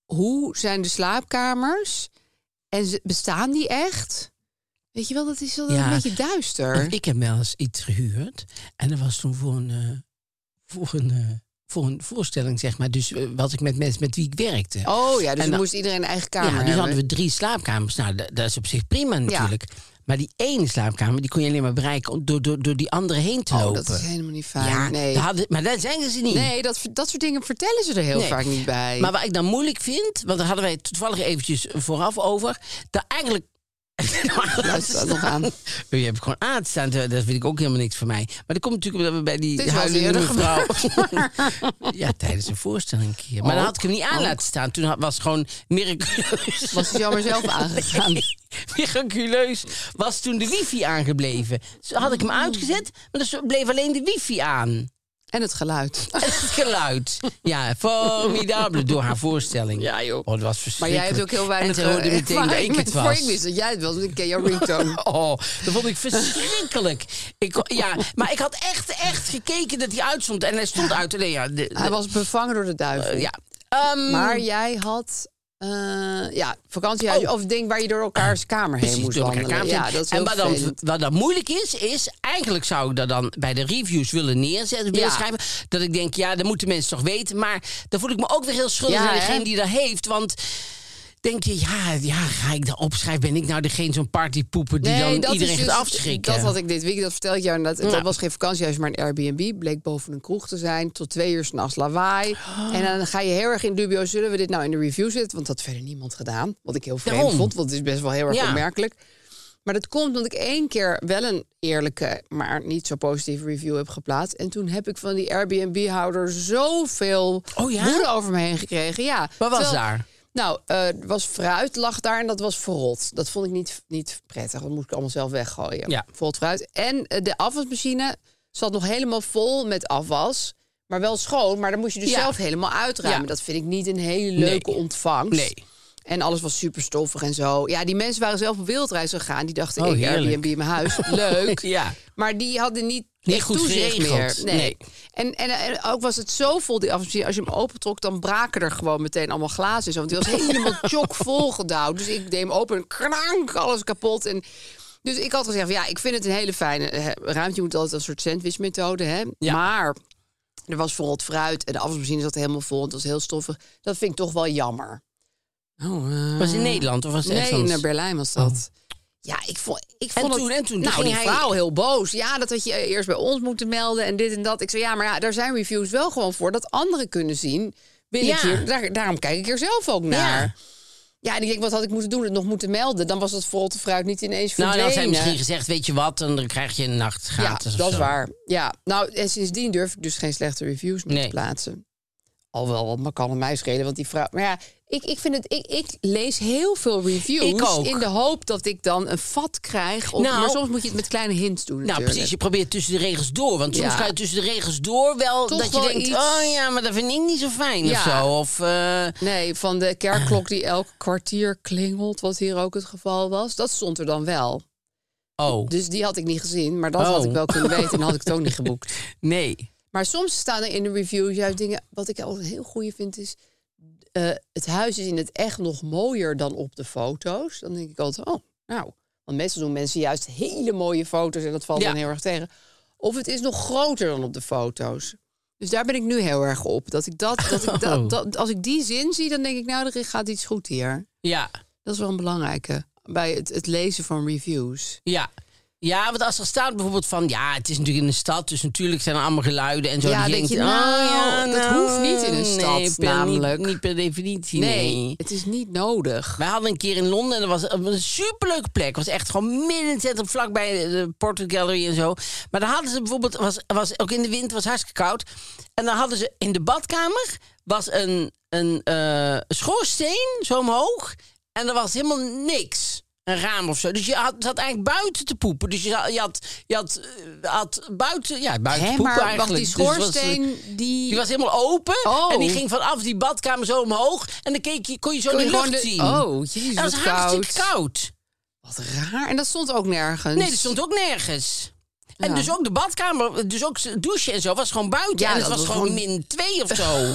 hoe zijn de slaapkamers? En ze- bestaan die echt? Weet je wel, dat is wel
Ja.
een beetje duister.
Want Ik heb wel eens iets gehuurd. En dat was toen voor een, eh, voor een, eh, voor een voorstelling, zeg maar. Dus eh, was ik met mensen met wie ik werkte.
Oh ja, dus
En
dan
dan-
moest iedereen een eigen kamer
ja, dus
hebben.
hadden we drie slaapkamers. Nou, da- dat is op zich prima natuurlijk. Maar die ene slaapkamer, die kon je alleen maar bereiken door, door, door die andere heen te
Oh,
lopen.
dat is helemaal niet fijn.
Ja,
nee,
daar hadden- maar daar zijn ze niet.
nee dat, dat soort dingen vertellen ze er heel
Nee.
vaak niet bij.
Maar wat ik dan moeilijk vind, want daar hadden wij het toevallig eventjes vooraf over, dat eigenlijk.
<laughs> Luister dat nog
<laughs>
aan.
Je hebt gewoon aan te staan, dat vind ik ook helemaal niks voor mij. Maar dat komt natuurlijk omdat we bij
Het
die
is wel
huilende
eerder
mevrouw...
<laughs>
ja, tijdens een voorstelling een keer. Maar dan
Ook,
had ik hem niet aan
ook.
laten staan. Toen had- was het gewoon miraculeus.
oh. <laughs> Was hij zo maar zelf aangegaan?
Nee, <laughs> miraculeus was toen de wifi aangebleven. Dus had ik
Oh.
hem uitgezet, maar dus bleef alleen de wifi aan.
En het geluid.
<laughs> Het geluid. Ja, formidabel door haar voorstelling.
Ja, joh.
Oh, dat was
Maar
verschrikkelijk.
jij hebt ook heel weinig...
En het hoorde
eh,
meteen dat ik
ervaring
het
met- Voor
was.
ik wist dat jij het was, want ik ken
<laughs>
jouw ringtone.
Oh, dat vond ik verschrikkelijk. Ik, ja, maar ik had echt, echt gekeken dat hij uitstond. En hij stond uit. Nee, ja, de- de-
Hij was bevangen door de duivel.
eh, ja. Ehm,
Maar jij had... eh, ja, vakantiehuis
Oh.
of ding waar je door elkaars kamer heen
precies,
moest
door elkaar
wandelen.
kamer.
Ja, dat is
en
heel
wat dan,
vervelend.
wat dan moeilijk is, is eigenlijk zou ik dat dan bij de reviews willen neerzetten, willen
Ja.
schrijven. Dat ik denk, ja, dat moeten mensen toch weten. Maar dan voel ik me ook weer heel schuldig
Ja,
aan
hè?
degene die dat heeft. Want denk je, ja, ja ga ik dat opschrijven? Ben ik nou degene zo'n partypoeper die
Nee,
dan
dat
iedereen
is dus,
gaat afschrikken?
Dat had ik dit weekend, dat vertel ik jou. En dat, dat
Ja.
was geen vakantiehuis, maar een Airbnb. Bleek boven een kroeg te zijn, tot twee uur s'nachts lawaai.
Oh.
En dan ga je heel erg in dubio, zullen we dit nou in de review zetten? Want dat had verder niemand gedaan. Wat ik heel vreemd
Daarom.
vond, want het is best wel heel erg
Ja.
opmerkelijk. Maar dat komt omdat ik één keer wel een eerlijke, maar niet zo positieve review heb geplaatst. En toen heb ik van die Airbnb-houder zoveel
Oh ja?
woede over me heen gekregen. Ja.
Wat was
Terwijl-
daar?
nou, eh, er was fruit lag daar en dat was verrot. Dat vond ik niet, niet prettig. Dat moest ik allemaal zelf weggooien.
Ja.
Verrot fruit. En eh, de afwasmachine zat nog helemaal vol met afwas. Maar wel schoon, maar dan moest je dus
Ja.
zelf helemaal uitruimen.
Ja.
Dat vind ik niet een hele leuke
Nee.
ontvangst.
Nee.
En alles was super stoffig en zo. Ja, die mensen waren zelf op wildreis gegaan. Die dachten,
Oh,
ik
heerlijk.
Airbnb in mijn
<laughs>
huis. Leuk.
Ja.
Maar die hadden niet,
Niet
echt
goed
toezicht
geregeld.
meer. Nee.
Nee.
En, en, en ook was het zo vol, die afwasmachine. Als je hem opentrok, dan braken er gewoon meteen allemaal glazen. en Zo. Want die was
<laughs>
helemaal chockvol gedouwd. Dus ik deed hem open en krank, alles kapot. En dus ik had gezegd, van, ja, ik vind het een hele fijne hè, ruimte. Je moet altijd een soort sandwichmethode, hè.
Ja.
Maar er was verrot fruit en de afwasmachine zat helemaal vol. Het was heel stoffig. Dat vind ik toch wel jammer.
Was het in Nederland of was het
Nee,
ergens
naar Berlijn was dat. Ja, ik vond, ik
En
vond
toen-
het...
en toen
nou,
ging
die
hij-
vrouw heel boos. Ja, dat had je eh, eerst bij ons moeten melden en dit en dat. Ik zei, ja, maar ja, daar zijn reviews wel gewoon voor. Dat anderen kunnen zien. Wil ik
Ja.
hier, daar- daarom kijk ik er zelf ook naar. Ja. en ik denk, wat had ik moeten doen? Het nog moeten melden. Dan was dat verrotte fruit niet ineens
Nou,
verdwenen.
dan had zij misschien gezegd, weet je wat, en dan krijg je een nacht
Ja,
gratis of
dat is
zo.
waar. Ja, nou, en sindsdien durf ik dus geen slechte reviews meer te
Nee.
plaatsen. Al wel, wat me kan het mij schelen, want die vrouw... Maar ja, ik, ik vind het... Ik, ik lees heel veel reviews
Ik ook.
in de hoop dat ik dan een vat krijg. Op,
Nou.
maar soms moet je het met kleine hints doen
Nou,
natuurlijk.
precies. Je probeert tussen de regels door. Want soms
Ja.
ga je tussen de regels door wel
Toch
dat je
wel
denkt...
iets-
oh ja, maar dat vind ik niet zo fijn
Ja.
of zo. Of, eh,
Nee, van de kerkklok die elk kwartier klingelt, wat hier ook het geval was. Dat stond er dan wel.
oh,
Dus die had ik niet gezien, maar dat
Oh.
had ik wel kunnen weten en dan had ik het ook niet
<laughs>
geboekt.
nee.
Maar soms staan er in de reviews juist dingen. Wat ik altijd heel goeie vind is. eh, het huis is in het echt nog mooier dan op de foto's. Dan denk ik altijd, oh, nou. Want meestal doen mensen juist hele mooie foto's en dat valt
Ja.
dan heel erg tegen. Of het is nog groter dan op de foto's. Dus daar ben ik nu heel erg op. Dat ik dat, dat, ik dat,
Oh.
dat- als ik die zin zie, dan denk ik, nou, er gaat iets goed hier.
Ja,
Dat is wel een belangrijke bij het, het lezen van reviews.
ja. Ja, want als er staat bijvoorbeeld van... Ja, het is natuurlijk in een stad, dus natuurlijk zijn er allemaal geluiden en zo. die
Ja, dat
denkt,
je, nou, dat hoeft niet in een
"Oh nee,
stad,
per- niet-
namelijk.
Niet, per definitie,
Nee,
nee.
het is niet nodig.
Wij hadden een keer in Londen, en dat was een superleuke plek. Het was echt gewoon midden in het centrum, vlakbij de Portrait Gallery en zo. Maar daar hadden ze bijvoorbeeld, was, was, ook in de wind, was hartstikke koud. En dan hadden ze in de badkamer, was een, een eh, schoorsteen, zo omhoog. En er was helemaal niks. Een raam of zo. Dus je had, zat eigenlijk buiten te poepen. Dus je had, je had, je had, eh, had buiten, ja, buiten
Hè,
poepen
maar wacht,
eigenlijk.
die
Dus het was-
schoorsteen, die...
die was helemaal open
Oh.
en die ging vanaf die badkamer zo omhoog. En dan keek je, kon je zo
Kon
de
je
lucht
gewoon de-
zien.
Oh, jezus,
En dat was
wat koud.
hartstikke koud.
Wat raar. En dat stond ook nergens.
Nee, dat stond ook nergens. En
Ja.
dus ook de badkamer, dus ook het douchen en zo, was gewoon buiten.
Ja,
en het
dat
was,
was
gewoon
gewoon-
min 2 of
<laughs>
zo.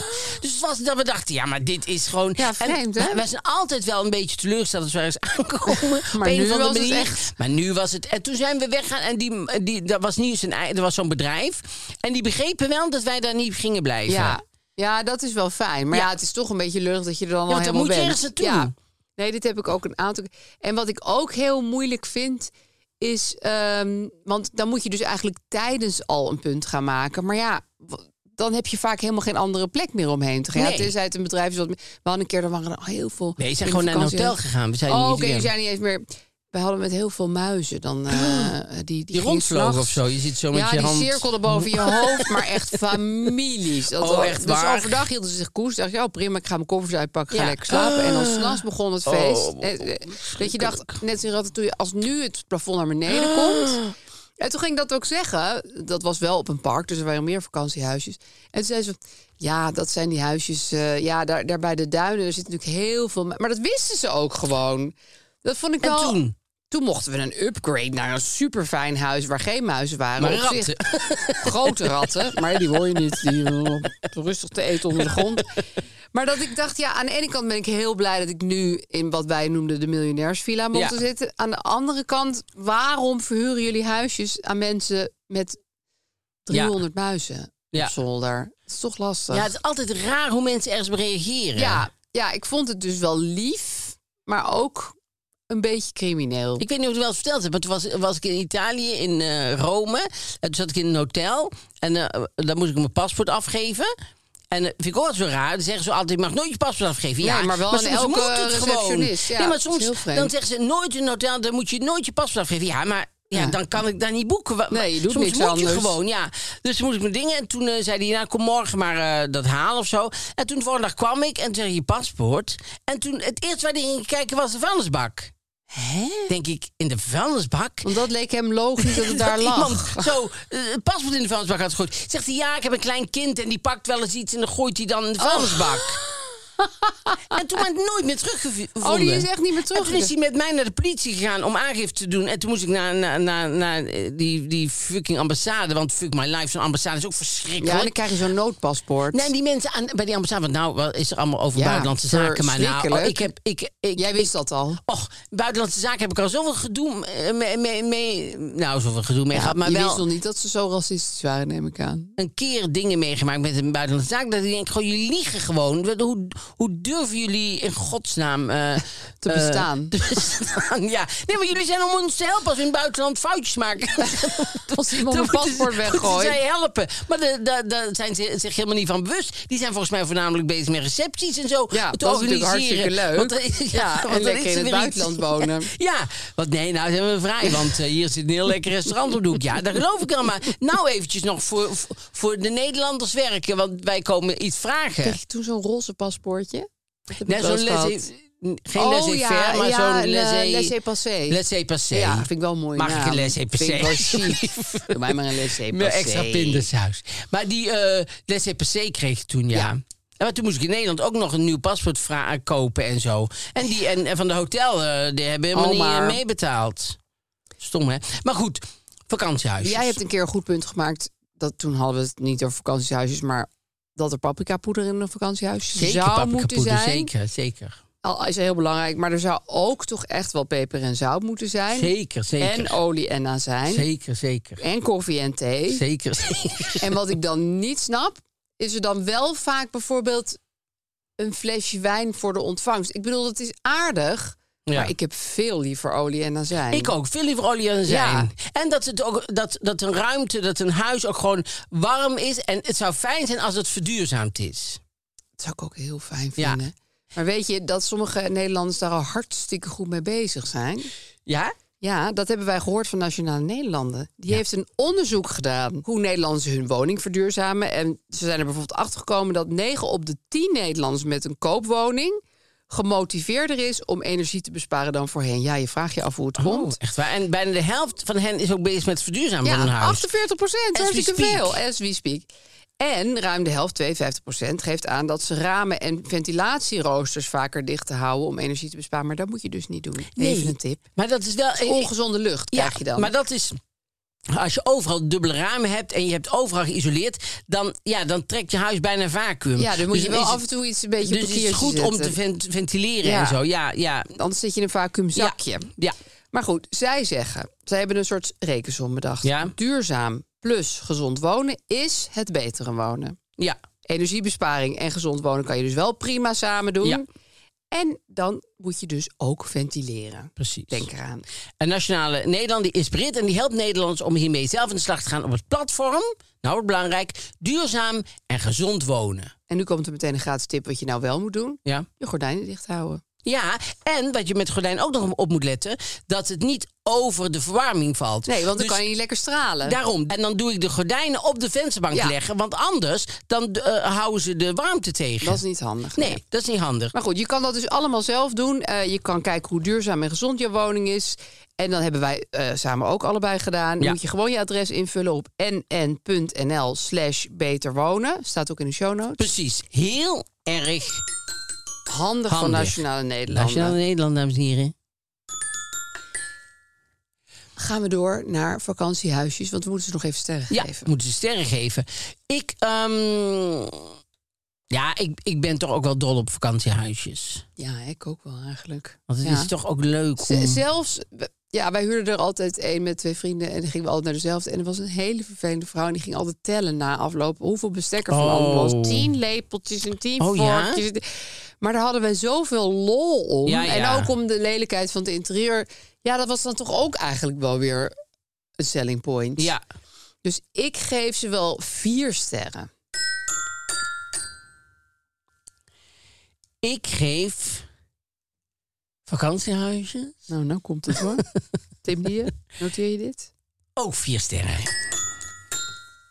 dus het was dat we dachten, ja, maar dit is gewoon...
Ja, vreemd,
en,
hè?
Wij zijn altijd wel een beetje teleurgesteld als we ergens <laughs> aankomen. op
<laughs> Maar
een
nu
of andere
was het
manier.
echt-
Maar nu was het... En toen zijn we weggaan en die, die, dat was, niet zijn, ei- dat was zo'n bedrijf. En die begrepen wel dat wij daar niet gingen blijven.
Ja. ja, dat is wel fijn. Maar ja, het is toch een beetje lullig dat je er dan al
want dan
helemaal
moet je ergens
bent.
naartoe.
Ja. Nee, dit heb ik ook een aantal... En wat ik ook heel moeilijk vind, is... ehm, want dan moet je dus eigenlijk tijdens al een punt gaan maken. Maar ja, w- dan heb je vaak helemaal geen andere plek meer omheen te gaan. Ja,
Nee.
tenzij het een bedrijf is wat... We hadden een keer, er waren er heel veel...
Nee, ze zijn
in
gewoon naar een
vakantie-
hotel gegaan. We zijn
Oh,
niet
oké,
weer-
die zijn niet eens meer... We hadden met heel veel muizen dan... eh,
Ah,
die, die,
Die
gingen
rondvlogen of
s'nachts-
zo. Je zit zo met
ja,
je
die
hand...
cirkel erboven je hoofd, maar echt families.
<laughs>
Dat
Oh,
wel-
echt
dus
waar?
overdag hielden ze zich koers. Dacht je, oh prima, ik ga mijn koffers uitpakken, ga
Ja. Ah.
lekker slapen. En dan s'nachts begon het feest.
oh,
Eh, eh, dat je dacht, net als toen je als nu het plafond naar beneden
Ah.
komt. En toen ging ik dat ook zeggen. Dat was wel op een park, dus er waren meer vakantiehuisjes. En toen zei ze, ja, dat zijn die huisjes. eh, ja, daar, daar bij de duinen, er zit natuurlijk heel veel... Maar dat wisten ze ook gewoon. Dat vond ik
En
wel...
toen?
Toen mochten we een upgrade naar een superfijn huis waar geen muizen waren.
Maar
Op zich- <laughs>
ratten.
grote ratten, <laughs> maar die hoor je niet. Die eh, rustig te eten onder de grond. Maar dat ik dacht, ja, aan de ene kant ben ik heel blij dat ik nu in wat wij noemden de miljonairsvilla mocht
Ja.
zitten. Aan de andere kant, waarom verhuren jullie huisjes aan mensen met 300 muizen
Ja.
op zolder? Dat is toch lastig?
Ja, het is altijd raar hoe mensen ergens op reageren.
ja, ja, ik vond het dus wel lief, maar ook een beetje crimineel.
Ik weet niet of ik het wel eens verteld heb, maar toen was, was ik in Italië, in eh, Rome. En toen zat ik in een hotel en eh, dan moest ik mijn paspoort afgeven. En eh, vind ik ook altijd zo raar. Dan zeggen ze altijd, je mag nooit je paspoort afgeven. Ja,
Nee, maar wel aan
soms
elke
moet het gewoon.
receptionist. Ja,
nee, maar
het is
soms
heel vreemd.
dan zeggen ze, nooit in een hotel, dan moet je nooit je paspoort afgeven. Ja, maar ja,
Ja.
dan kan ik daar niet boeken. Wa-
Nee, je doet
soms
niks
moet
anders.
je gewoon, ja. Dus toen moest ik mijn dingen en toen eh, zei hij, nou kom morgen maar eh, dat halen of zo. En toen de volgende dag kwam ik en toen zei hij, je paspoort. En toen, het eerste waar hij ging kijken was de vuilnisbak denk ik, in de vuilnisbak.
Want dat leek hem logisch dat het daar
<laughs> dat
lag.
iemand zo eh, het paspoort in de vuilnisbak had gegooid. Zegt hij, ja, ik heb een klein kind en die pakt wel eens iets... en dan gooit hij dan in de
Oh.
vuilnisbak.
<laughs>
en toen werd het nooit meer teruggevonden.
Oh, die is echt niet meer
En toen is
terug.
hij met mij naar de politie gegaan om aangifte te doen. En toen moest ik naar, naar, naar, naar eh, die, die fucking ambassade. Want fuck my life, zo'n ambassade is ook
Ja, en dan
verschrikkelijk.
krijg je zo'n noodpaspoort.
Nee, die mensen aan, bij die ambassade, want nou wat is er allemaal over
Ja,
buitenlandse zaken. Maar nou,
verschrikkelijk.
oh, ik heb, ik, ik,
Jij wist dat al.
Och, buitenlandse zaken heb ik al zoveel gedoe eh, mee. mee, mee- nou, zoveel gedoe mee gehad. Maar
je
wel
wist nog niet dat ze zo racistisch waren, neem ik aan.
een keer dingen meegemaakt met een buitenlandse zaak. Dat ik denk, gewoon, jullie liegen gewoon. Wat- Hoe, hoe durven jullie in godsnaam... eh,
<laughs> Te
eh, <laughs>
bestaan.
te bestaan, ja. Nee, maar jullie zijn om ons te helpen als we in het buitenland foutjes maken.
<laughs>
<laughs>
Als iemand
Dan moeten
een
ze-
paspoort
moeten
weggooit.
zij helpen. Maar daar da, daar zijn ze zich helemaal niet van bewust. Die zijn volgens mij voornamelijk bezig met recepties en zo.
Ja,
te
dat is natuurlijk
organiseren.
hartstikke leuk.
Want, er-
Ja, en
want er
lekker
is <laughs>
in het
weer
buitenland
iets.
wonen.
<laughs> Ja, want nee, nou zijn we vrij. Want eh, hier zit een heel lekker restaurant op de hoek. Ja, dat geloof ik al. Maar nou eventjes nog voor, voor- voor de Nederlanders werken. Want wij komen iets vragen.
Kreeg je toen zo'n roze paspoortje? Dat heb ik
Nee,
wel
zo'n
eens gehad.
laissez- Geen
Oh,
laissez
ja,
maar
ja,
zo'n
een,
laissez...
eh, laissez-passer.
Laissez-passer.
Ja, vind ik wel een mooie
Mag ik
naam.
een laissez-passer?
Vind ik wel chic. Doe mij maar een
<laughs>
laissez-passer.
Met extra pindasaus. Maar die eh laissez-passer kreeg ik toen, ja. En maar toen moest ik in Nederland ook nog een nieuw paspoort vra- kopen en zo. En, die, en, en van de hotel, eh, die hebben helemaal
Oh,
niet eh,
maar.
meebetaald. Stom, hè? Maar goed, vakantiehuisjes.
Jij hebt een keer een goed punt gemaakt. Dat, toen hadden we het niet over vakantiehuisjes, maar dat er paprikapoeder in een vakantiehuis
zeker
zou
paprika
moeten
poeder,
zijn.
Zeker, zeker.
Al is heel belangrijk, maar er zou ook toch echt wel peper en zout moeten zijn.
Zeker, zeker.
En olie en azijn.
Zeker, zeker.
En koffie en thee.
Zeker, zeker.
En wat ik dan niet snap, is er dan wel vaak bijvoorbeeld een flesje wijn voor de ontvangst. Ik bedoel, dat is aardig,
Ja.
Maar ik heb veel liever olie en azijn.
Ik ook, veel liever olie dan zijn. En dat, het ook, dat, dat een ruimte, dat een huis ook gewoon warm is. En het zou fijn zijn als het verduurzaamd is.
Dat zou ik ook heel fijn
Ja.
vinden. Maar weet je dat sommige Nederlanders daar al hartstikke goed mee bezig zijn?
Ja?
Ja, dat hebben wij gehoord van Nationale Nederlanden. Die heeft een onderzoek gedaan hoe Nederlanders hun woning verduurzamen. En ze zijn er bijvoorbeeld achter gekomen dat 9 op de 10 Nederlanders met een koopwoning gemotiveerder is om energie te besparen dan voorheen. Ja, je vraagt je af hoe het
Oh,
komt.
echt waar. En bijna de helft van hen is ook bezig met het verduurzamen van hun
Ja,
huis.
48 procent,
As we
hartstikke
speak.
veel. As we speak. En ruim de helft, 52 procent, geeft aan dat ze ramen en ventilatieroosters vaker dicht te houden om energie te besparen. Maar dat moet je dus niet doen. Even een tip.
Maar dat is wel...
Ongezonde lucht krijg je dan.
Eh, Maar dat is. Als je overal dubbele ramen hebt en je hebt overal geïsoleerd, dan, ja, dan trekt je huis bijna vacuüm. Dus
Ja, dus dan moet je wel
is
af
het-
en toe iets een beetje
Dus
op
het is
parkeertje
goed om te
zetten.
vent- ventileren
Ja.
en zo. Ja, ja.
Anders zit je in een vacuümzakje.
Ja. ja.
Maar goed, zij zeggen, zij hebben een soort rekensom bedacht.
Ja.
Duurzaam plus gezond wonen is het betere wonen.
Ja.
Energiebesparing en gezond wonen kan je dus wel prima samen doen.
Ja.
En dan moet je dus ook ventileren.
Precies.
Denk eraan.
En Nationale Nederland die inspireert en die helpt Nederlanders om hiermee zelf aan de slag te gaan op het platform. Nou, wordt belangrijk. Duurzaam en gezond wonen.
En nu komt er meteen een gratis tip wat je nou wel moet doen.
Ja.
Je gordijnen dicht houden.
Ja, en wat je met gordijn ook nog op moet letten, dat het niet over de verwarming valt.
Nee, want dan
Dus-
kan je niet lekker stralen.
Daarom. En dan doe ik de gordijnen op de vensterbank
Ja.
leggen. Want anders dan eh, houden ze de warmte tegen.
Dat is niet handig.
Nee, dat is niet handig.
Maar goed, je kan dat dus allemaal zelf doen. Eh, je kan kijken hoe duurzaam en gezond je woning is. En dan hebben wij eh, samen ook allebei gedaan.
Ja.
Moet je gewoon je adres invullen op nn.nl slash beter wonen. Staat ook in de show notes.
Precies. Heel erg
Handig, van
Handig.
Nationale Nederlanden.
nationaal Nederland, dames en heren.
Gaan we door naar vakantiehuisjes, want we moeten ze nog even sterren
Ja,
geven.
moeten ze sterren geven. Ik, ehm, ja, ik, ik ben toch ook wel dol op vakantiehuisjes.
Ja, ik ook wel eigenlijk.
Want het
Ja.
is toch ook leuk
Z-
om...
Zelfs, ja, wij huurden er altijd één met twee vrienden. En dan gingen we altijd naar dezelfde. En er was een hele vervelende vrouw. En die ging altijd tellen na afloop hoeveel bestek er van
Oh.
allemaal was. Tien lepeltjes en tien
Oh, ja?
vorkjes. en- Maar daar hadden wij zoveel lol om.
Ja, ja.
En ook om de lelijkheid van het interieur. Ja, dat was dan toch ook eigenlijk wel weer een selling point.
Ja,
Dus ik geef ze wel vier sterren.
ik geef vakantiehuisjes
Nou, nou komt het hoor. <laughs> Tim <laughs> Dier, noteer je dit?
ook vier sterren.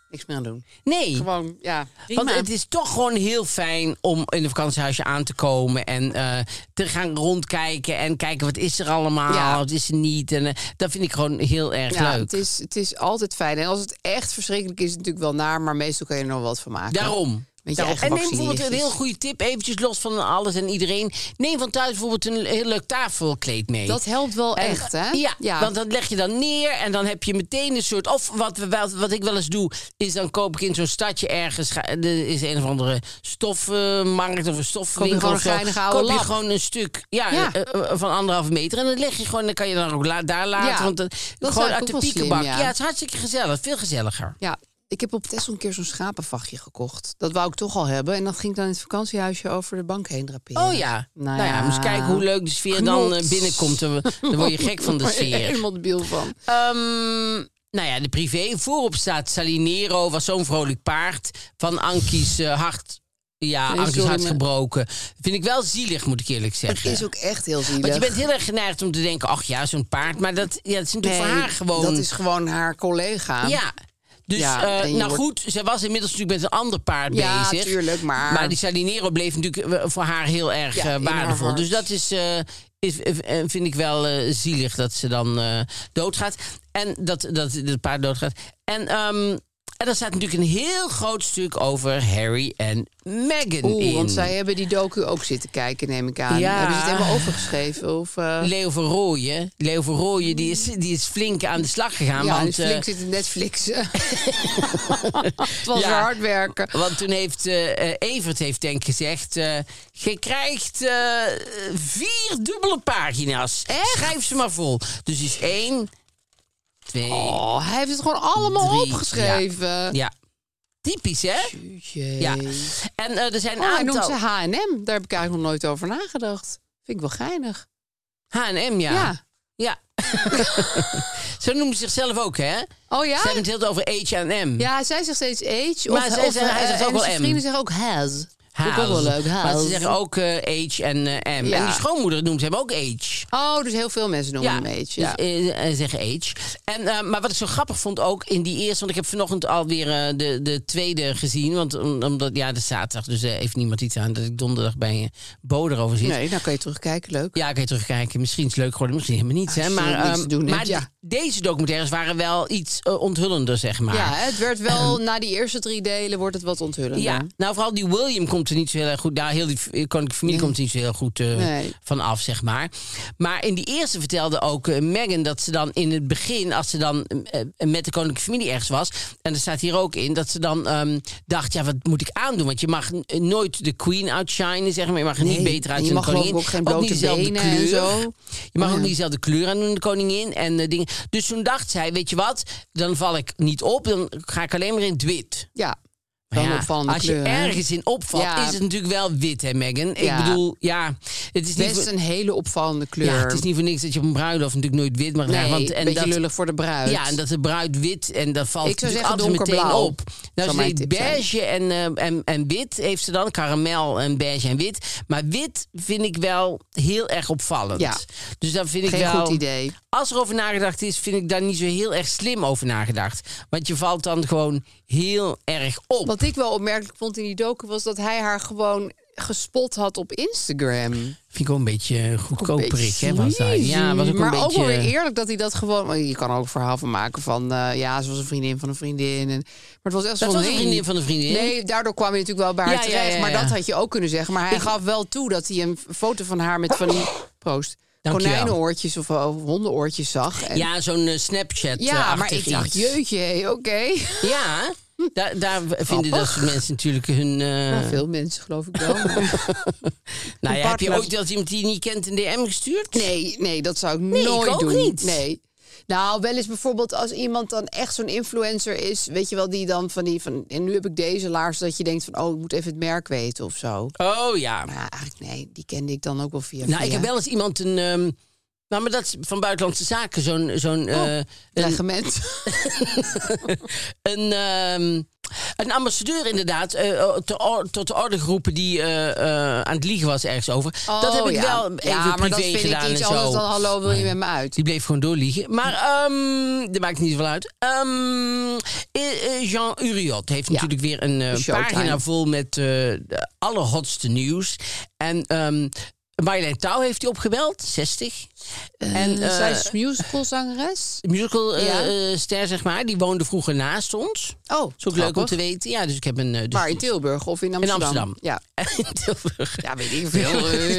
Niks meer aan doen.
Nee,
Gewoon, ja.
Want
prima.
het is toch gewoon heel fijn om in een vakantiehuisje aan te komen en eh, te gaan rondkijken en kijken wat is er allemaal,
Ja.
wat is er niet. En eh, dat vind ik gewoon heel erg
Ja,
leuk.
Het is, het is altijd fijn. En als het echt verschrikkelijk is, is het natuurlijk wel naar, maar meestal kan je er nog wat van maken.
Daarom.
Met je
Daarom.
eigen
En neem bijvoorbeeld een heel
vaccinelichtjes.
goede tip, eventjes los van alles en iedereen. Neem van thuis bijvoorbeeld een heel leuk tafelkleed mee.
Dat helpt wel
En,
echt, hè?
eh, Ja, want dat leg je dan neer en dan heb je meteen een soort... Of wat, we wel- wat ik wel eens doe, is dan koop ik in zo'n stadje ergens... ga- Er is een of andere stofmarkt of een stofwinkel.
gewoon
of zo,
een geinige oude
Koop je
lap.
gewoon een stuk ja,
Ja.
eh, eh, van anderhalve meter. En dan leg je gewoon, dan kan je dan ook la- daar laten.
Ja,
Want dan,
dat is
gewoon
eigenlijk
uit
ook
de
wel slim,
piekenbak.
ja.
het is hartstikke gezellig. Veel gezelliger.
ja, ik heb op Tesla een keer zo'n schapenvachtje gekocht. Dat wou ik toch al hebben. En dat ging ik dan in het vakantiehuisje over de bank heen draperen.
Oh
<laughs>
ja. Nou, ja, eens kijken hoe leuk de sfeer dan eh,
Knots.
binnenkomt. Dan dan word je gek van de
Daar <laughs> word je
sfeer.
helemaal debiel van.
Ehm, nou ja, de privé. Voorop staat Salinero, was zo'n vrolijk paard. Van Ankies eh, hart. Ja,
Nee,
Ankies
sorry,
hart
maar-
gebroken. Vind ik wel zielig, moet ik eerlijk
Het
zeggen.
is ook echt heel zielig.
Want je bent heel erg geneigd om te denken: ach ja, zo'n paard. Maar dat, ja, dat is natuurlijk
Nee,
voor haar gewoon.
Dat is gewoon haar collega.
Ja. Dus,
Ja,
eh,
en je
nou
wordt-
goed, zij was inmiddels natuurlijk met een ander paard
Ja,
bezig.
tuurlijk, maar-
Maar die Salinero bleef natuurlijk eh, voor haar heel erg
Ja,
eh,
in haar
waardevol.
hart.
Dus dat is, eh, is, eh, vind ik wel eh, zielig dat ze dan eh, doodgaat. En dat, dat, dat het paard doodgaat. En, ehm en daar staat natuurlijk een heel groot stuk over Harry en Meghan in.
Oeh, want zij hebben die docu ook zitten kijken, neem ik aan.
Ja.
Hebben ze het helemaal overgeschreven? Of, eh,
Leo van Rooyen, Leo van Rooyen die is, die is flink aan de slag gegaan.
Ja,
want, eh,
Netflix zit in <laughs>
<laughs>
Netflix. Het was
Ja.
weer hard werken.
Want toen heeft eh, eh, Evert heeft denk ik gezegd... eh, je krijgt eh, vier dubbele pagina's. Schrijf ze maar vol. Dus is één, twee,
Oh, hij heeft het gewoon allemaal
drie.
opgeschreven.
Ja. ja. Typisch, hè?
Jee.
Ja. En eh, er zijn een
Oh, hij
aantal...
noemt ze H&M. Daar heb ik eigenlijk nog nooit over nagedacht. Vind ik wel geinig.
H&M, ja.
Ja.
Ja. <laughs> Zo noemen ze zichzelf ook, hè?
Oh
Ze
ja?
hebben het heel over H&M.
Ja, zij zegt steeds age.
Maar
of,
zij
of,
zeggen- hij
eh,
zegt ook
en
wel
zijn
M.
vrienden zeggen ook E has.
Haas.
Ook wel leuk, E haas.
Maar ze zeggen ook eh, H en eh, M.
Ja.
En die schoonmoeder noemt hem ook H.
Oh, dus heel veel mensen noemen hem age. Ja.
Dus, eh, eh, zeggen age. En, eh, maar wat ik zo grappig vond ook in die eerste... want ik heb vanochtend alweer eh, de, de tweede gezien. Want om- omdat, ja, de zaterdag, dus eh, heeft niemand iets aan... dat ik donderdag bij eh, Bo erover zit.
nee, nou kan je terugkijken, leuk.
Ja, ik kan je terugkijken. Misschien is het leuk geworden, misschien helemaal niet. hè?
je
Maar,
niks
ehm,
te doen hebt,
maar
ja.
de- deze documentaires waren wel iets eh, onthullender, zeg maar.
Ja, het werd wel, na die eerste drie delen wordt het wat onthullender.
Ehm. Ja, nou vooral die William komt er niet zo heel erg goed. Nou, heel die v- koninklijke familie komt er niet zo heel goed eh,
Nee.
van af, zeg maar. Maar in die eerste vertelde ook eh, Meghan dat ze dan in het begin, als ze dan eh, eh, met de koninklijke familie ergens was, en er staat hier ook in, dat ze dan ehm, dacht, ja, wat moet ik aandoen? Want je mag n- nooit de queen outshinen, zeg maar. Je mag er niet
Nee,
beter
en je
uit dan de
mag geloof ik
koningin.
ook geen
niet
blote
dezelfde
benen en
kleur.
zo.
Je mag ook
Ja.
niet dezelfde kleur aan doen, de koningin en eh, dingen. Dus toen dacht zij, weet je wat, dan val ik niet op, dan ga ik alleen maar in het wit.
Ja,
Maar
wel een
ja,
opvallende
als
kleur.
je
hè?
ergens in opvalt,
Ja.
is het natuurlijk wel wit, hè, Megan?
Ja.
Ik bedoel, ja, het is niet.
Best
voor-
een hele opvallende kleur.
ja, het is niet voor niks dat je op een bruiloft natuurlijk nooit wit mag dragen.
nee,
want,
een beetje
dat,
lullig voor de bruid.
Ja, en dat de bruid wit en dat valt
Ik zou
natuurlijk
zeggen
altijd meteen
donkerblauw.
op. Nou,
Zou
ze
mijn
deed
tip zijn.
beige en, eh, en, en wit heeft ze dan. Karamel en beige en wit. Maar wit vind ik wel heel erg opvallend.
Ja.
Dus dat vind ik
Geen
wel...
goed idee.
Als er over nagedacht is, vind ik daar niet zo heel erg slim over nagedacht. Want je valt dan gewoon heel erg op.
Wat ik wel opmerkelijk vond in die docu was dat hij haar gewoon gespot had op Instagram.
Vind ik wel een beetje goedkoperik, hè? Was dat.
Jezus.
Ja, was ook
maar
een beetje...
ook wel weer eerlijk dat hij dat gewoon... want Je kan er ook een verhaal van maken van... eh, ja, ze was een vriendin van een vriendin. En, maar het was echt
Dat
zo'n
was een
heen-
vriendin van een vriendin.
Nee, daardoor kwam je natuurlijk wel bij haar
Ja, ja,
terecht.
ja, ja.
Maar dat had je ook kunnen zeggen. Maar hij gaf wel toe dat hij een foto van haar met van die... Proost.
Dankjewel.
Konijnenoortjes of, of hondenoortjes zag. En-
Ja, zo'n eh, Snapchat.
ja
eh,
maar
achtig
ik dacht,
iets.
jeutje, hé, oké.
Ja, da- daar vinden dat soort mensen natuurlijk hun. eh,
Nou, veel mensen geloof ik wel. maar-
nou ja, heb je
partner.
ooit wel eens iemand die je niet kent een DM gestuurd?
<laughs> Nee, nee, dat zou ik
ik
nooit
ook
doen.
niet.
Nee. Nou, wel eens bijvoorbeeld als iemand dan echt zo'n influencer is, weet je wel, die dan van die van en nu heb ik deze laars dat je denkt van oh, ik moet even het merk weten of zo.
Oh ja.
Maar ja, eigenlijk nee, die kende ik dan ook wel via.
Nou,
via.
ik heb wel eens iemand een. ehm, nou, maar dat is van buitenlandse zaken. Zo'n. zo'n
Oh,
eh, een,
dreigement.
<laughs> een, ehm, een ambassadeur, inderdaad. eh, te or- tot de orde geroepen die eh, eh, aan het liegen was ergens over. <laughs> dat heb
Oh,
ik
ja.
wel even
Ja, maar
privé
dat vind
gedaan
ik iets
en zo.
anders dan hallo, wil je met me uit?
Die bleef gewoon doorliegen. Maar ehm dat maakt niet zoveel uit. Ehm, eh, eh, Jean Uriot heeft natuurlijk weer een eh,
Showtime.
pagina vol met eh, de allerhotste nieuws. En ehm Marjolein Touw heeft hij opgebeld, 60. en eh,
Zij is musicalzangeres.
musical eh,
Ja.
eh, ster, zeg maar, die woonde vroeger naast ons.
Oh,
Is ook leuk om te weten. Ja, dus ik heb een... eh, dus
Maar in Tilburg of in
in
Amsterdam?
Amsterdam.
Ja.
<laughs> In Tilburg.
Ja, weet ik
<laughs>
veel.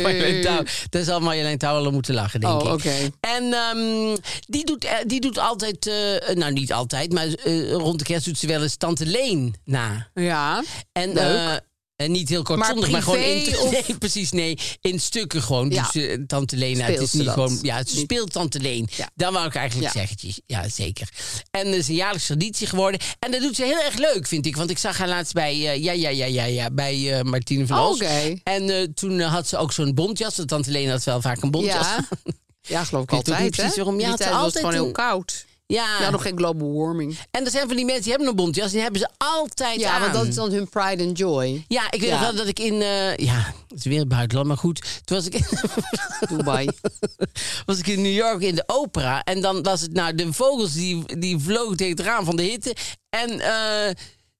Marjolein Touw. Daar zal Marjolein Touw al om moeten lachen, denk
Oh,
ik.
oké.
En ehm, die, doet, eh, die doet altijd, eh, nou niet altijd, maar eh, rond de kerst doet ze wel eens Tante Leen na.
Ja.
En,
Leuk.
eh, en niet heel kortzondig, maar,
Maar
gewoon
privé
in, <laughs>
of-
nee, precies, nee, in stukken gewoon.
Ja.
Dus eh, Tante Leen, nou, het
Speelt
is
ze
niet
dat?
gewoon, ja, ze
Niet-
speelt Tante Leen.
Ja.
Dat wou ik eigenlijk
Ja.
zeggen, tje- ja zeker. En dat is een jaarlijkse traditie geworden. En dat doet ze heel erg leuk, vind ik. Want ik zag haar laatst bij, eh, ja, ja, ja, ja, ja, bij eh, Martine van
Oh,
Os.
oké.
En eh, toen eh, had ze ook zo'n bontjas, want Tante Leen had wel vaak een bontjas.
Ja. <laughs> Ja, geloof ik
weet ook
altijd.
niet precies
hè?
waarom. Ja,
Die
het is
tijd was het
altijd
gewoon heel
een-
koud.
Ja.
Ja, nog geen global warming.
En er zijn van die mensen die hebben een bontjas, die hebben ze altijd
Ja,
aan.
want dat is dan hun pride and <laughs> joy.
Ja, ik weet
Ja.
nog wel dat ik in... eh, ja, het is weer het buitenland, maar goed. Toen was ik, <laughs>
Dubai.
was ik in New York in de opera. En dan was het, nou, de vogels die, die vlogen tegen het raam van de hitte. En eh,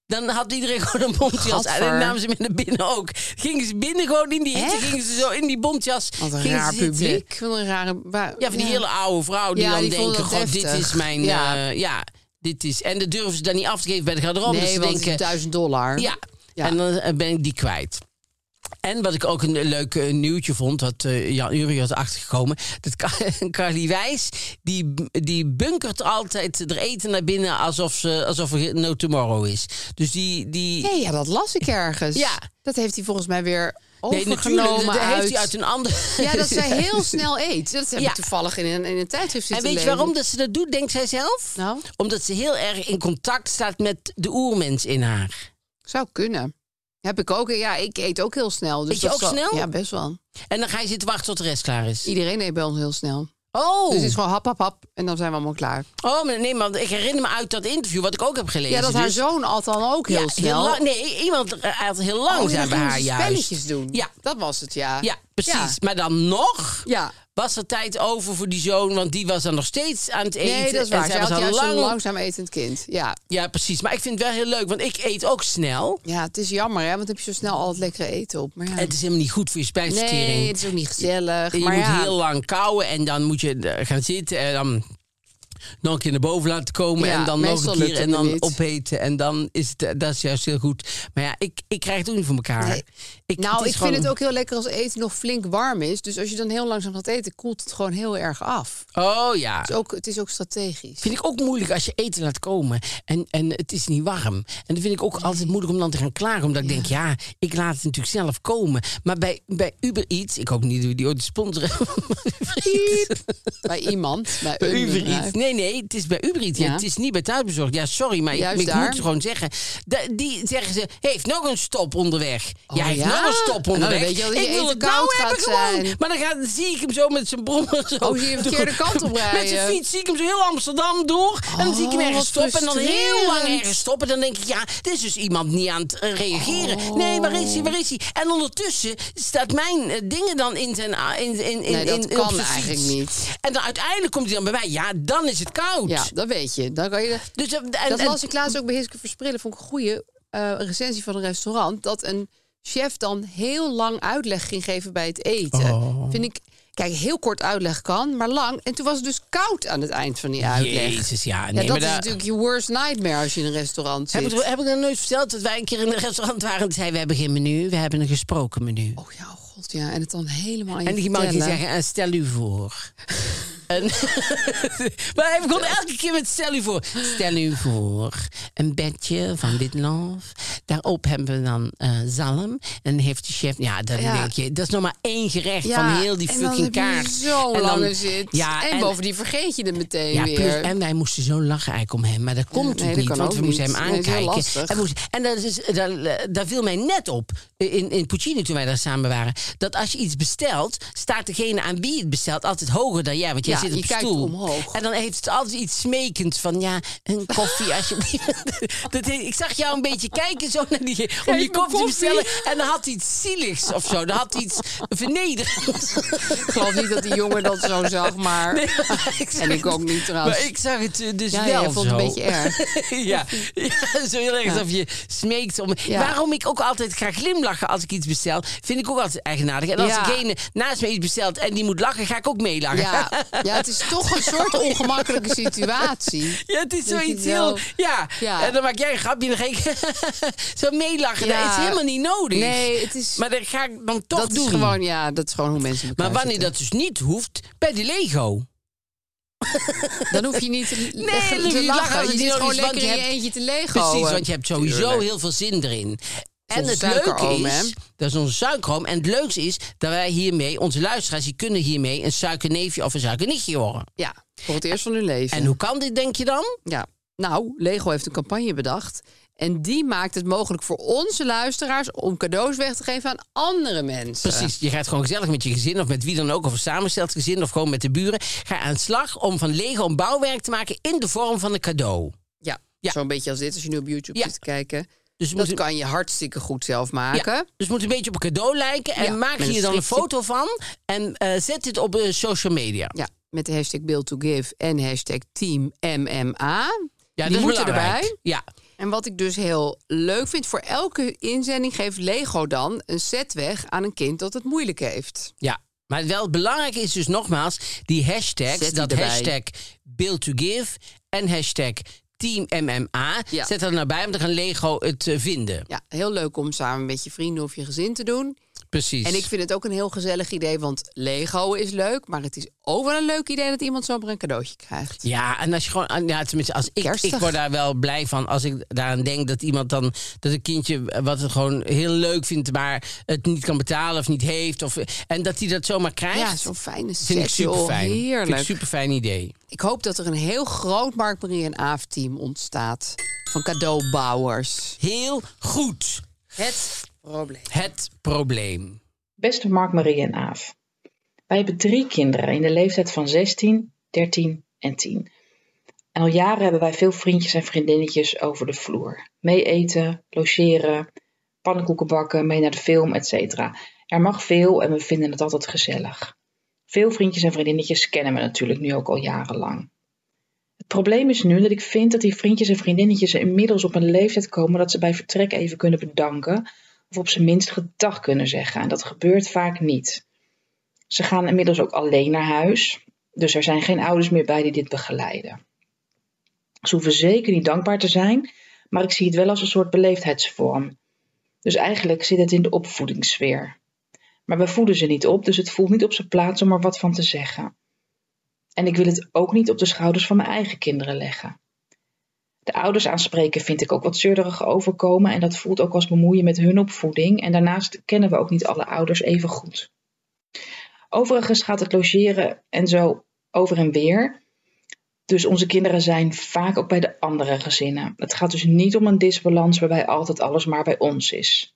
dan had iedereen <laughs> gewoon een bontjas aan. En dan
Gadver.
namen ze mee naar binnen ook. Gingen ze binnen gewoon in die hitte,
Echt?
gingen ze zo in die bontjas.
Wat een
gingen
raar
ze zitten.
publiek. Wat een rare... wa-
Ja, van die hele oude vrouw die
Ja,
dan
die vond
denken,
dat
god, dit
heftig.
is mijn... Ja.
Ja.
ja, dit is... En dat durven ze dan niet af te geven bij de garderobe. omdat
Nee,
ze
want het is
denken,
1000 dollar.
ja.
Ja.
En dan eh, ben ik die kwijt. En wat ik ook een leuk eh, nieuwtje vond, dat eh, Jan Uri had achtergekomen. Dat Ka- <laughs> Carly Wijs, die, die bunkert altijd er eten naar binnen alsof, ze, alsof er no tomorrow is. Dus die... die
Nee, ja, dat las ik ergens.
Ja.
Dat heeft hij volgens mij weer
nee,
overgenomen
natuurlijk, dat dat
uit...
heeft hij uit een ander...
Ja, dat
<laughs>
zij heel snel eet. Dat heb
Ja.
ik toevallig in een, in een tijdschrift
En
zitten
weet je
lezen.
waarom dat ze dat doet, denkt zij zelf?
Nou?
Omdat ze heel erg in contact staat met de oermens in haar.
Zou kunnen. Heb ik ook. Ja, ik eet ook heel snel. Dus
Eet je
dat
ook snel?
Ja, best wel.
En dan ga je zitten wachten tot de rest klaar is.
Iedereen eet bij ons heel snel.
Oh,
Dus het is gewoon hap, hap, hap. En dan zijn we allemaal klaar.
oh maar nee, maar ik herinner me uit dat interview wat ik ook heb gelezen.
Ja, dat haar
dus-
zoon al dan ook heel
Ja,
snel.
lang- nee, iemand eh, had heel
Oh,
langzaam
ja, dan
bij
gingen
haar
ze
juist.
spelletjes doen.
Ja.
Dat was het, ja.
Ja, precies.
Ja.
Maar dan nog
Ja.
was er tijd over voor die zoon, want die was dan nog steeds aan het eten.
Nee, dat is
En
waar.
zij
Zij
was
had
al
juist
lang-
een langzaam etend kind. Ja.
Ja, precies. Maar ik vind het wel heel leuk, want ik eet ook snel.
ja, het is jammer, hè? Want dan heb je zo snel al het lekkere eten op. Maar ja.
En Het is helemaal niet goed voor je spijsvertering.
nee, het is ook niet gezellig.
En je
maar
moet
ja.
heel lang kauwen en dan moet je eh, gaan zitten en dan nog een keer naar boven laten komen
Ja,
en dan nog
meestal
een keer
lukt het
en
me
dan
niet.
opeten. En dan is het, eh, dat is juist heel goed. Maar ja, ik, ik krijg het ook niet voor elkaar.
Nee.
Ik,
nou,
is
ik
gewoon-
vind het ook heel lekker als eten nog flink warm is. Dus als je dan heel langzaam gaat eten, koelt het gewoon heel erg af.
Oh ja.
Het is ook, het is ook strategisch.
Vind ik ook moeilijk als je eten laat komen en, en het is niet warm. En dat vind ik ook altijd moeilijk om dan te gaan klagen. Omdat ik denk, ja, ik laat het natuurlijk zelf komen. Maar bij, bij Uber Eats, ik hoop niet dat we die ooit sponsoren. <laughs>
Bij iemand, bij
Bij
een nou,
Uber
bedrijf.
Eats. Nee, nee, het is bij Uber Eats. Ja,
Ja.
het is niet bij thuisbezorgd. Ja, sorry, maar ik-
Juist
ik,
daar.
moet het gewoon zeggen. Da- die zeggen ze, heeft nog een stop onderweg.
Oh,
ja, heeft
ja?
nog een stop
En dan
onderweg.
weet je al dat je
ik wil
eten
het nou
koud
hebben
gaat
gewoon.
zijn.
Maar dan gaat, zie ik hem zo met zijn brommer zo.
Oh, zie je de verkeerde
door-
kant op
Met zijn
rijden.
fiets zie ik hem zo heel Amsterdam door. en dan zie ik hem
Oh,
ergens
wat
stoppen. En dan heel lang
frustrerend.
ergens stoppen. Dan denk ik, ja, dit is dus iemand niet aan het eh, reageren.
Oh.
Nee, waar is hij, waar is hij? En ondertussen staat mijn eh, dingen dan in zijn... a- In, in, in,
Nee, dat
in- op
kan
zijn
eigenlijk
fiets.
niet.
En dan uiteindelijk komt hij dan bij mij. Ja, dan is het koud.
Ja, dat weet je. Dan kan je dat-
Dus, eh, en,
dat
en-
las ik laatst ook bij Hiske Versprillen. Vond ik een goede recensie van een restaurant. Dat een chef dan heel lang uitleg ging geven bij het eten.
Oh.
Vind ik, kijk, heel kort uitleg kan, maar lang. En toen was het dus koud aan het eind van die uitleg.
Jezus, ja. Nee,
Ja, dat
maar
is
daar-
natuurlijk je worst nightmare als je in een restaurant
Heb
zit.
ik, heb ik nog nooit verteld dat wij een keer in een restaurant waren en zei: We hebben geen menu, we hebben een gesproken menu.
Oh ja, oh god, ja. En het dan helemaal aan je
en die man die
vertellen.
zeggen: en Stel u voor. <laughs> en, maar hij begon elke keer met: Stel u voor. Stel u voor. Een bedje van witlof. Daarop hebben we dan eh, zalm. En heeft de chef. Ja, dan
Ja.
denk je: Dat is nog maar één gerecht
Ja,
van heel die
en dan
fucking
heb je
kaart.
Zo'n
En dan-
lange zit.
Ja,
en, bovendien vergeet je het meteen
Ja,
weer.
plus, en wij moesten zo lachen eigenlijk om hem. Maar dat komt
nee,
natuurlijk
dat
niet,
kan
want
ook
we moesten
niet.
hem
Nee, het is heel
aankijken.
lastig.
en, moest- en dat is, daar, daar viel mij net op, in, in Puccini toen wij daar samen waren... dat als je iets bestelt, staat degene aan wie je het bestelt altijd hoger dan jij. Want jij
Ja,
zit op
je
een
kijkt
stoel.
omhoog.
En dan heeft het altijd iets smekends van, ja, een koffie alsjeblieft. <laughs> dat, ik zag jou een beetje kijken zo naar die, om die koffie te
me koffie.
bestellen. En dan had hij iets zieligs of zo. Dan had hij iets vernederends.
Ik geloof niet dat die jongen dat zo zag, maar... en ik ook niet trouwens.
Maar ik zag het eh, dus
Ja,
wel
ja, ik vond het
zo.
een beetje <laughs> erg.
ja. <laughs> ja, zo heel erg alsof je smeekt om...
Ja.
Waarom ik ook altijd ga glimlachen als ik iets bestel... vind ik ook altijd eigenaardig. En als
Ja.
degene naast me iets bestelt en die moet lachen... ga ik ook meelachen.
Ja, <laughs> ja, het is toch een soort ongemakkelijke situatie.
<laughs> Ja, het is
Dat je
zoiets
wel-
heel... Ja.
Ja.
en dan maak jij een grapje en dan ga ik <laughs> zo meelachen.
Ja.
Dat is helemaal niet nodig.
Nee, het is-
Maar dat ga ik dan toch
dat
doen.
is gewoon, ja, dat is gewoon hoe mensen in elkaar
maar wanneer dat dus niet hoeft, bij de Lego.
zitten. Dan hoef je niet te,
dan
nee,
hoef je
te
niet lachen
lachen.
als
Je
het
zit
nodig
gewoon
is,
lekker
want je
in je
hebt-
eentje te leeg
Precies, want je hebt sowieso heel veel zin erin. En
onze
het leuke
suikeroom, hè?
is, dat is onze suikeroom. En het leukste is dat wij hiermee, onze luisteraars, die kunnen hiermee een suikerneefje of een suikernichtje worden.
Ja, voor het eerst van hun leven.
En hoe kan dit, denk je dan?
Ja, nou, Lego heeft een campagne bedacht. En die maakt het mogelijk voor onze luisteraars om cadeaus weg te geven aan andere mensen.
Precies, je gaat gewoon gezellig met je gezin of met wie dan ook, of een samengesteld gezin of gewoon met de buren. Ga aan de slag om van Lego een bouwwerk te maken in de vorm van een cadeau.
Ja,
Ja.
zo'n beetje als dit, als je nu op YouTube
Ja.
zit te kijken.
Dus
Dus
we
dat
moeten-
kan je hartstikke goed zelf maken.
Ja, dus het moet een beetje op een cadeau lijken. En
Ja,
maak
met
hier
een
dan een
strikje.
foto van. En eh, zet dit op eh, social media.
Ja, met de hashtag build to give en hashtag team MMA.
Ja,
die
dat is
moeten
belangrijk.
erbij.
Ja.
En wat ik dus heel leuk vind, voor elke inzending geeft Lego dan een set weg aan een kind dat het moeilijk heeft.
Ja, maar wel belangrijk is dus nogmaals die hashtags.
Zet die
dat
erbij.
hashtag build to give en hashtag team MMA.
Ja.
Zet dat er nou bij, want dan kan Lego het eh, vinden.
Ja, heel leuk om samen met je vrienden of je gezin te doen.
Precies.
En ik vind het ook een heel gezellig idee, want Lego is leuk, maar het is ook wel een leuk idee dat iemand zomaar een cadeautje krijgt.
Ja, en als je gewoon, ah, ja, tenminste, als ik,
Kerstig.
ik word daar wel blij van als ik daaraan denk dat iemand dan, dat een kindje eh, wat het gewoon heel leuk vindt, maar het niet kan betalen of niet heeft, of, en dat hij dat zomaar krijgt.
Ja, zo'n fijne
vind ik
set,
super
joh.
fijn.
Heerlijk.
Super fijn idee.
Ik hoop dat er een heel groot Mark Marie en Aaf team ontstaat van cadeaubouwers.
Heel goed. Het
Probleem.
Het probleem.
Beste Mark, Marie en Aaf. Wij hebben drie kinderen in de leeftijd van 16, 13 en 10. En al jaren hebben wij veel vriendjes en vriendinnetjes over de vloer. Mee eten, logeren, pannenkoeken bakken, mee naar de film, etc. Er mag veel en we vinden het altijd gezellig. Veel vriendjes en vriendinnetjes kennen we natuurlijk nu ook al jarenlang. Het probleem is nu dat ik vind dat die vriendjes en vriendinnetjes er inmiddels op een leeftijd komen dat ze bij vertrek even kunnen bedanken of op zijn minst gedag kunnen zeggen. En dat gebeurt vaak niet. Ze gaan inmiddels ook alleen naar huis, dus er zijn geen ouders meer bij die dit begeleiden. Ze hoeven zeker niet dankbaar te zijn, maar ik zie het wel als een soort beleefdheidsvorm. Dus eigenlijk zit het in de opvoedingssfeer. Maar we voeden ze niet op, dus het voelt niet op zijn plaats om er wat van te zeggen. En ik wil het ook niet op de schouders van mijn eigen kinderen leggen. De ouders aanspreken vind ik ook wat zeurderig overkomen en dat voelt ook als bemoeien met hun opvoeding. En daarnaast kennen we ook niet alle ouders even goed. Overigens gaat het logeren en zo over en weer. Dus onze kinderen zijn vaak ook bij de andere gezinnen. Het gaat dus niet om een disbalans waarbij altijd alles maar bij ons is.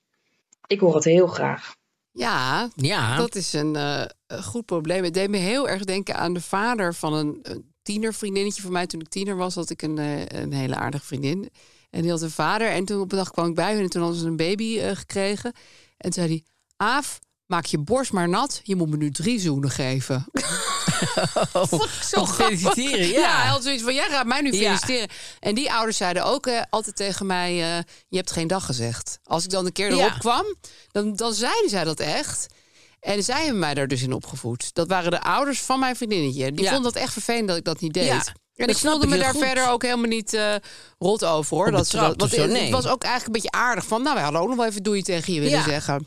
Ik hoor het heel graag.
Ja,
Ja.
dat is een eh, een goed probleem. Het deed me heel erg denken aan de vader van een, een tienervriendinnetje van mij. Toen ik tiener was, had ik een, eh, een hele aardige vriendin. En die had een vader. En toen op een dag kwam ik bij hun en toen hadden ze een baby eh, gekregen. En toen zei hij, Aaf, maak je borst maar nat. Je moet me nu drie
<laughs>
zoenen geven. Vond ik zo
om te
grappig.
feliciteren, ja.
hij had zoiets van, jij gaat mij nu
Ja.
feliciteren. En die ouders zeiden ook eh, altijd tegen mij, eh, je hebt geen dag gezegd. Als ik dan een keer
Ja.
erop kwam, dan, dan zeiden zij dat echt. En zij hebben mij daar dus in opgevoed. Dat waren de ouders van mijn vriendinnetje. Die
Ja.
vonden dat echt vervelend dat ik dat niet deed.
Ja,
En
dat
ik
snap
voelde
ik
me
heel
daar
goed.
verder ook helemaal niet eh, rot over hoor.
Op
Dat ze
betrapt
dat, want
of zo,
het-
nee.
Het was ook eigenlijk een beetje aardig van. Nou, wij hadden ook nog wel even doei tegen je willen
Ja.
zeggen.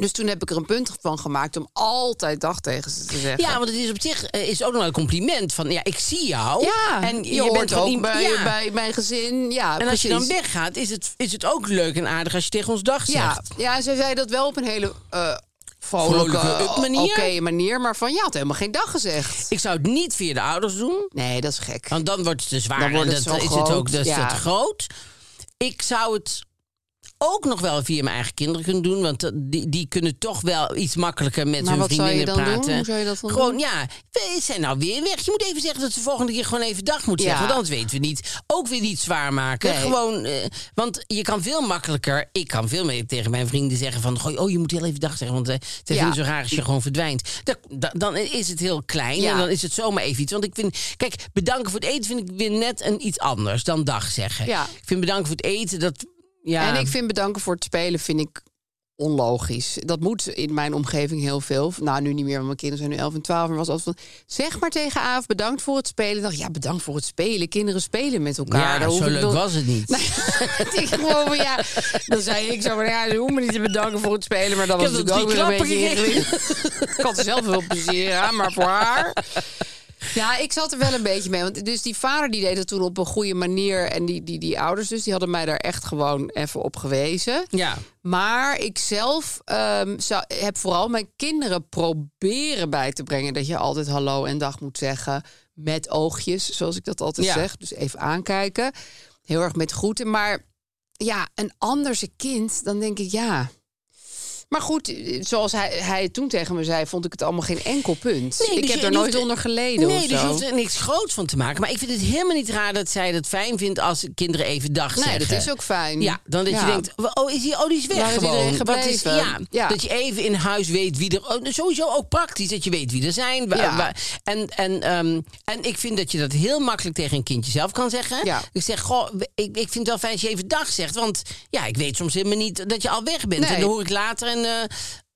Dus toen heb ik er een punt van gemaakt om altijd dag tegen ze te zeggen.
Ja, want het is op zich eh, is ook nog een compliment van ja, ik zie jou.
Ja,
en
je, hoort
van
ook
iemand-
bij,
ja.
bij mijn gezin. Ja,
En als je dan
precies.
weggaat, is het, is het ook leuk en aardig als je tegen ons dag zegt.
Ja, ja, ze zei dat wel op een hele eh vrolijke,
Vrolijke
eh,
manier.
oké manier. Maar van, je had helemaal geen dag gezegd.
Ik zou het niet via de ouders doen,
Nee, dat is gek.
want dan wordt het te zwaar.
Dan wordt
en
het
dat,
zo
is
groot,
het ook dat, is
ja.
dat groot. Ik zou het ook nog wel via mijn eigen kinderen kunnen doen, want dat- die, die kunnen toch wel iets makkelijker met
Maar
hun
wat zou je
vriendinnen
dan doen?
praten.
Hoe zou je dat dan
Gewoon,
doen?
ja, we zijn nou weer weg. Je moet even zeggen dat ze volgende keer gewoon even dag moet
Ja.
zeggen, want anders weten we niet. Ook weer niet zwaar maken.
Nee.
Gewoon, eh, want je kan veel makkelijker, ik kan veel meer tegen mijn vrienden zeggen van, goh, oh, je moet heel even dag zeggen, want eh, het is
Ja.
niet zo raar als je gewoon verdwijnt. Da- da- dan is het heel klein
Ja.
en dan is het zomaar even iets. Want ik vind, kijk, bedanken voor het eten vind ik weer net een iets anders dan dag zeggen.
Ja.
Ik vind bedanken voor het eten, dat, ja.
En ik vind bedanken voor het spelen vind ik onlogisch. Dat moet in mijn omgeving heel veel. Nou, nu niet meer, want mijn kinderen zijn nu 11 en 12. Maar was altijd van, zeg maar tegen Aaf, bedankt voor het spelen. Ik dacht, ja, bedankt voor het spelen. Kinderen spelen met elkaar.
ja,
Daar hoef
zo
ik
leuk
nog-
was het niet.
Nou <laughs> ja, ik gewoon van, ja, dan zei ik zo van ja, ze hoeven me niet te bedanken voor het spelen, maar dat
Ik
was
heb
natuurlijk ook
nog
weer een
drie
beetje
klappen
ingewikkeld. <laughs> Ik had er zelf wel plezier aan, maar voor haar. Ja, ik zat er wel een beetje mee. Want dus die vader die deed het toen op een goede manier. En die, die, die ouders dus, die hadden mij daar echt gewoon even op gewezen.
Ja.
Maar ik zelf ehm, zou, heb vooral mijn kinderen proberen bij te brengen dat je altijd hallo en dag moet zeggen. Met oogjes, zoals ik dat altijd
Ja.
zeg. Dus even aankijken. Heel erg met groeten. Maar ja, een anderse kind, dan denk ik ja. Maar goed, eh, zoals hij, hij het toen tegen me zei, vond ik het allemaal geen enkel punt.
Nee,
ik
dus
heb
je-
er
je
nooit
hoeft-
onder geleden.
Nee,
of
dus je
zo.
hoeft er niks groots van te maken. Maar ik vind het helemaal niet raar dat zij dat fijn vindt als kinderen even dag
Nee,
zeggen.
dat is ook fijn.
Ja, dan dat
Ja.
je denkt, oh, is die, oh, die is weg
Waar is
gewoon.
iedereen
Wat is,
gebleven?
ja,
Ja.
Dat je even in huis weet wie er... oh, Sowieso ook praktisch, dat je weet wie er zijn. wa-
Ja.
wa- en, en, ehm, en ik vind dat je dat heel makkelijk tegen een kindje zelf kan zeggen.
Ja.
Ik zeg, goh, ik, ik vind het wel fijn als je even dag zegt. Want ja, ik weet soms helemaal niet dat je al weg bent.
Nee.
En dan hoor ik later en...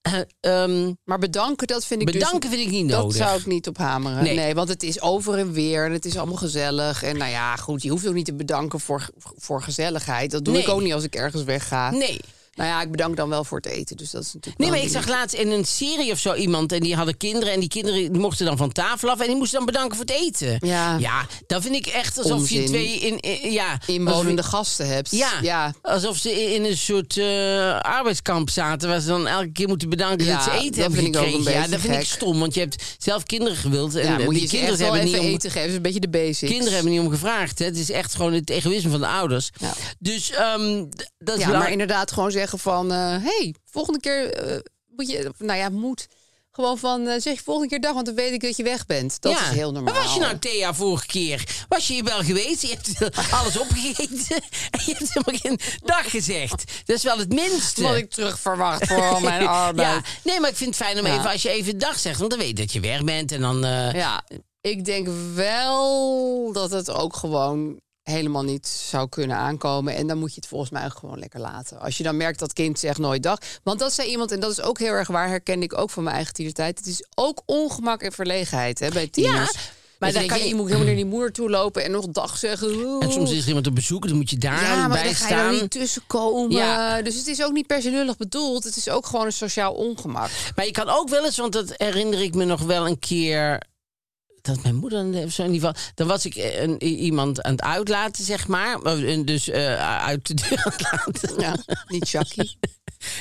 eh, eh, ehm,
Maar bedanken, dat vind ik dus-
Bedanken vind ik niet
dat
nodig.
zou ik niet op hameren. Nee.
Nee.
want het is over en weer en het is allemaal gezellig. En nou ja, goed, je hoeft ook niet te bedanken voor, voor gezelligheid. Dat doe
Nee.
ik ook niet als ik ergens wegga.
nee.
Nou ja, ik bedank dan wel voor het eten, dus dat is natuurlijk...
Nee,
wel
maar ik
een
zag
ding.
laatst in een serie of zo iemand... en die hadden kinderen en die kinderen die mochten dan van tafel af... en die moesten dan bedanken voor het eten.
Ja.
ja dat vind ik echt alsof
Onzin.
je twee... In, in- ja,
Inwonende gasten hebt.
alsof- ja,
ja.
alsof ze in in een soort eh, arbeidskamp zaten... waar ze dan elke keer moeten bedanken
Ja,
dat ze eten
dat
hebben
vind ik ook een
gekregen. ja,
beetje
dat vind ik
gek.
stom, want je hebt zelf kinderen gewild... en
Ja,
eh,
moet je
die
ze echt
kinderen
wel
hebben
even
niet om-
eten geven. Dat is een beetje de basics.
Kinderen hebben niet om gevraagd. Hè. Het is echt gewoon het egoïsme van de ouders.
Ja.
Dus ehm, d- dat is
Ja, maar
belang-
inderdaad gewoon zeggen zeggen van... eh hey, volgende keer eh, moet je... Nou ja, moet. Gewoon van, eh, zeg je volgende keer dag, want dan weet ik dat je weg bent. Dat
Ja.
is heel normaal.
Maar was je nou Thea vorige keer? Was je hier wel <laughs> geweest? Je hebt alles opgegeten <laughs> en je hebt helemaal geen dag gezegd. Dat is wel het minste.
Wat ik terug verwacht voor al
<laughs>
mijn
ja,
arbeid.
nee, maar ik vind het fijn om
Ja.
even als je even dag zegt, want dan weet je dat je weg bent en dan. eh,
Ja. ik denk wel dat het ook gewoon helemaal niet zou kunnen aankomen. En dan moet je het volgens mij ook gewoon lekker laten. Als je dan merkt dat kind zegt nooit dag. Want dat zei iemand, en dat is ook heel erg waar, herkende ik ook van mijn eigen tienertijd. Het is ook ongemak en verlegenheid hè, bij tieners.
Ja, maar dan
maar dan
kan
kan
Dus
je,
je-
je moet helemaal naar die moeder toe lopen en nog dag zeggen.
En soms is er iemand op bezoek, dan moet je daar
ja, maar
bij
dan ga je
staan.
er niet tussenkomen.
Ja.
Dus het is ook niet per se lullig bedoeld. Het is ook gewoon een sociaal ongemak.
Maar je kan ook wel eens, want dat herinner ik me nog wel een keer. Dat mijn moeder, of zo in ieder geval. Dan was ik eh, een, i- iemand aan het uitlaten, zeg maar. Eh, en Dus eh, uit de deur <laughs> aan het laten.
Ja, niet Chucky.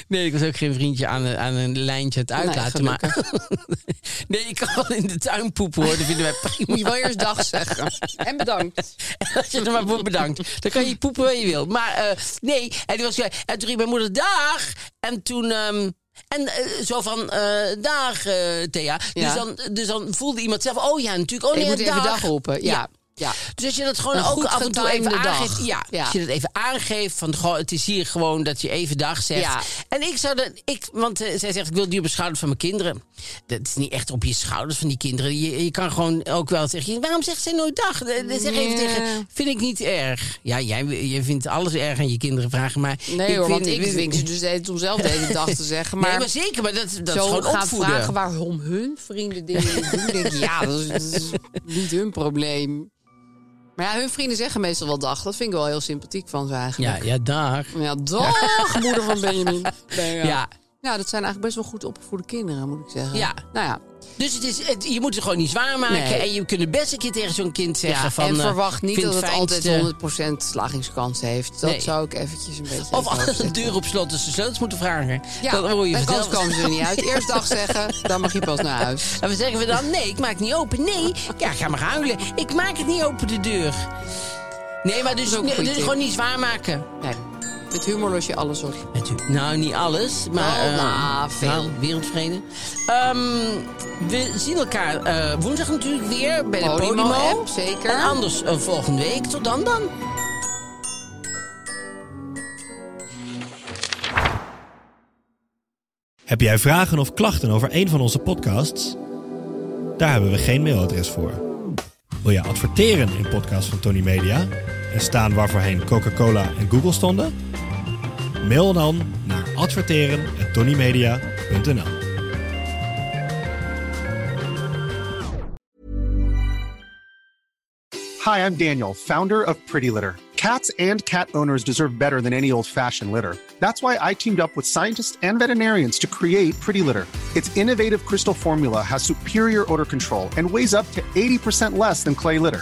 Nee, ik was ook geen vriendje aan een, aan een lijntje aan het
Nee,
uitlaten. maar... <laughs> nee, ik kan wel in de tuin poepen hoor. Dat vinden wij prima.
<laughs> Moet je wel eerst dag zeggen. En bedankt.
<laughs> Als je er maar voor bedankt. Dan kan je poepen waar je wil. Maar eh, nee, en toen, was, ik- en toen riep mijn moeder dag. En toen... ehm, en eh, zo van, eh dag eh, Thea. Dus,
Ja.
dan, dus dan voelde iemand zelf, oh ja, natuurlijk. Oh nee,
je moet
dag.
even dag roepen. Ja. ja.
Dus als je dat gewoon
Een
ook
goed
af en toe even
getimede dag.
aangeeft. Ja,
Ja.
Als je dat even aangeeft, van goh, het is hier gewoon dat je even dag zegt.
Ja.
En ik zou dat, ik, want eh, zij zegt, ik wil die op de schouders van mijn kinderen. Dat is niet echt op je schouders van die kinderen. Je, je kan gewoon ook wel zeggen, waarom zegt zij nooit dag? Eh, eh, Zeg even tegen, vind ik niet erg. Ja, jij, jij vindt alles erg aan je kinderen vragen, maar...
Nee hoor,
vind-
want ik dwing ze dus de hele- om zelf de hele dag te zeggen.
Nee,
Maar,
maar, zeker, maar dat, dat is
zo
gewoon
gaan
opvoeden.
vragen waarom hun vrienden dingen niet doen. denk ik, ja, dat is, dat is niet hun probleem. Maar ja, hun vrienden zeggen meestal wel dag. Dat vind ik wel heel sympathiek van ze
Ja,
eigenlijk.
ja, dag.
Ja, dag, moeder van Benjamin.
Ja.
ja. Ja, dat zijn eigenlijk best wel goed opgevoede kinderen, moet ik zeggen.
Ja.
Nou ja,
Dus het is, het- je moet het gewoon niet zwaar maken.
Nee.
En je kunt het best een keer tegen zo'n kind zeggen
ja
van...
en
eh,
verwacht niet
vind
dat het
fijnste-
altijd 100% slagingskans heeft. Dat
Nee.
zou ik eventjes een beetje...
Of achter de
boven
deur op slot als ze sleutels moeten vragen.
Ja,
dat hoor je
bij
vanzelf.
kans komen ze er niet uit. Eerst dag zeggen, dan mag je pas naar huis.
<laughs> En we zeggen we dan, nee, ik maak het niet open. Nee, ja, ga maar huilen. Ik maak het niet open, de deur. Nee, maar dus,
Dat is ook een
nee,
goeie
dus
tip.
gewoon niet zwaar maken.
Nee, met humor los je alles op.
Met u. Nou, niet alles, maar...
Nou,
eh,
nou, veel.
nou, wereldvrede. Ehm, we zien elkaar eh, woensdag natuurlijk weer bij de Podimo.
Podimo app, zeker.
En anders eh, volgende week. Tot dan dan.
Heb jij vragen of klachten over een van onze podcasts? Daar hebben we geen mailadres voor. Wil jij adverteren in podcasts van Tony Media en staan waarvoorheen Coca-Cola en Google stonden? Mail dan naar adverteren@tonymedia.nl.
Hi, I'm Daniel, founder of Pretty Litter. Cats and cat owners deserve better than any old fashioned litter. That's why I teamed up with scientists and veterinarians to create Pretty Litter. Its innovative crystal formula has superior odor control and weighs up to 80% less than clay litter.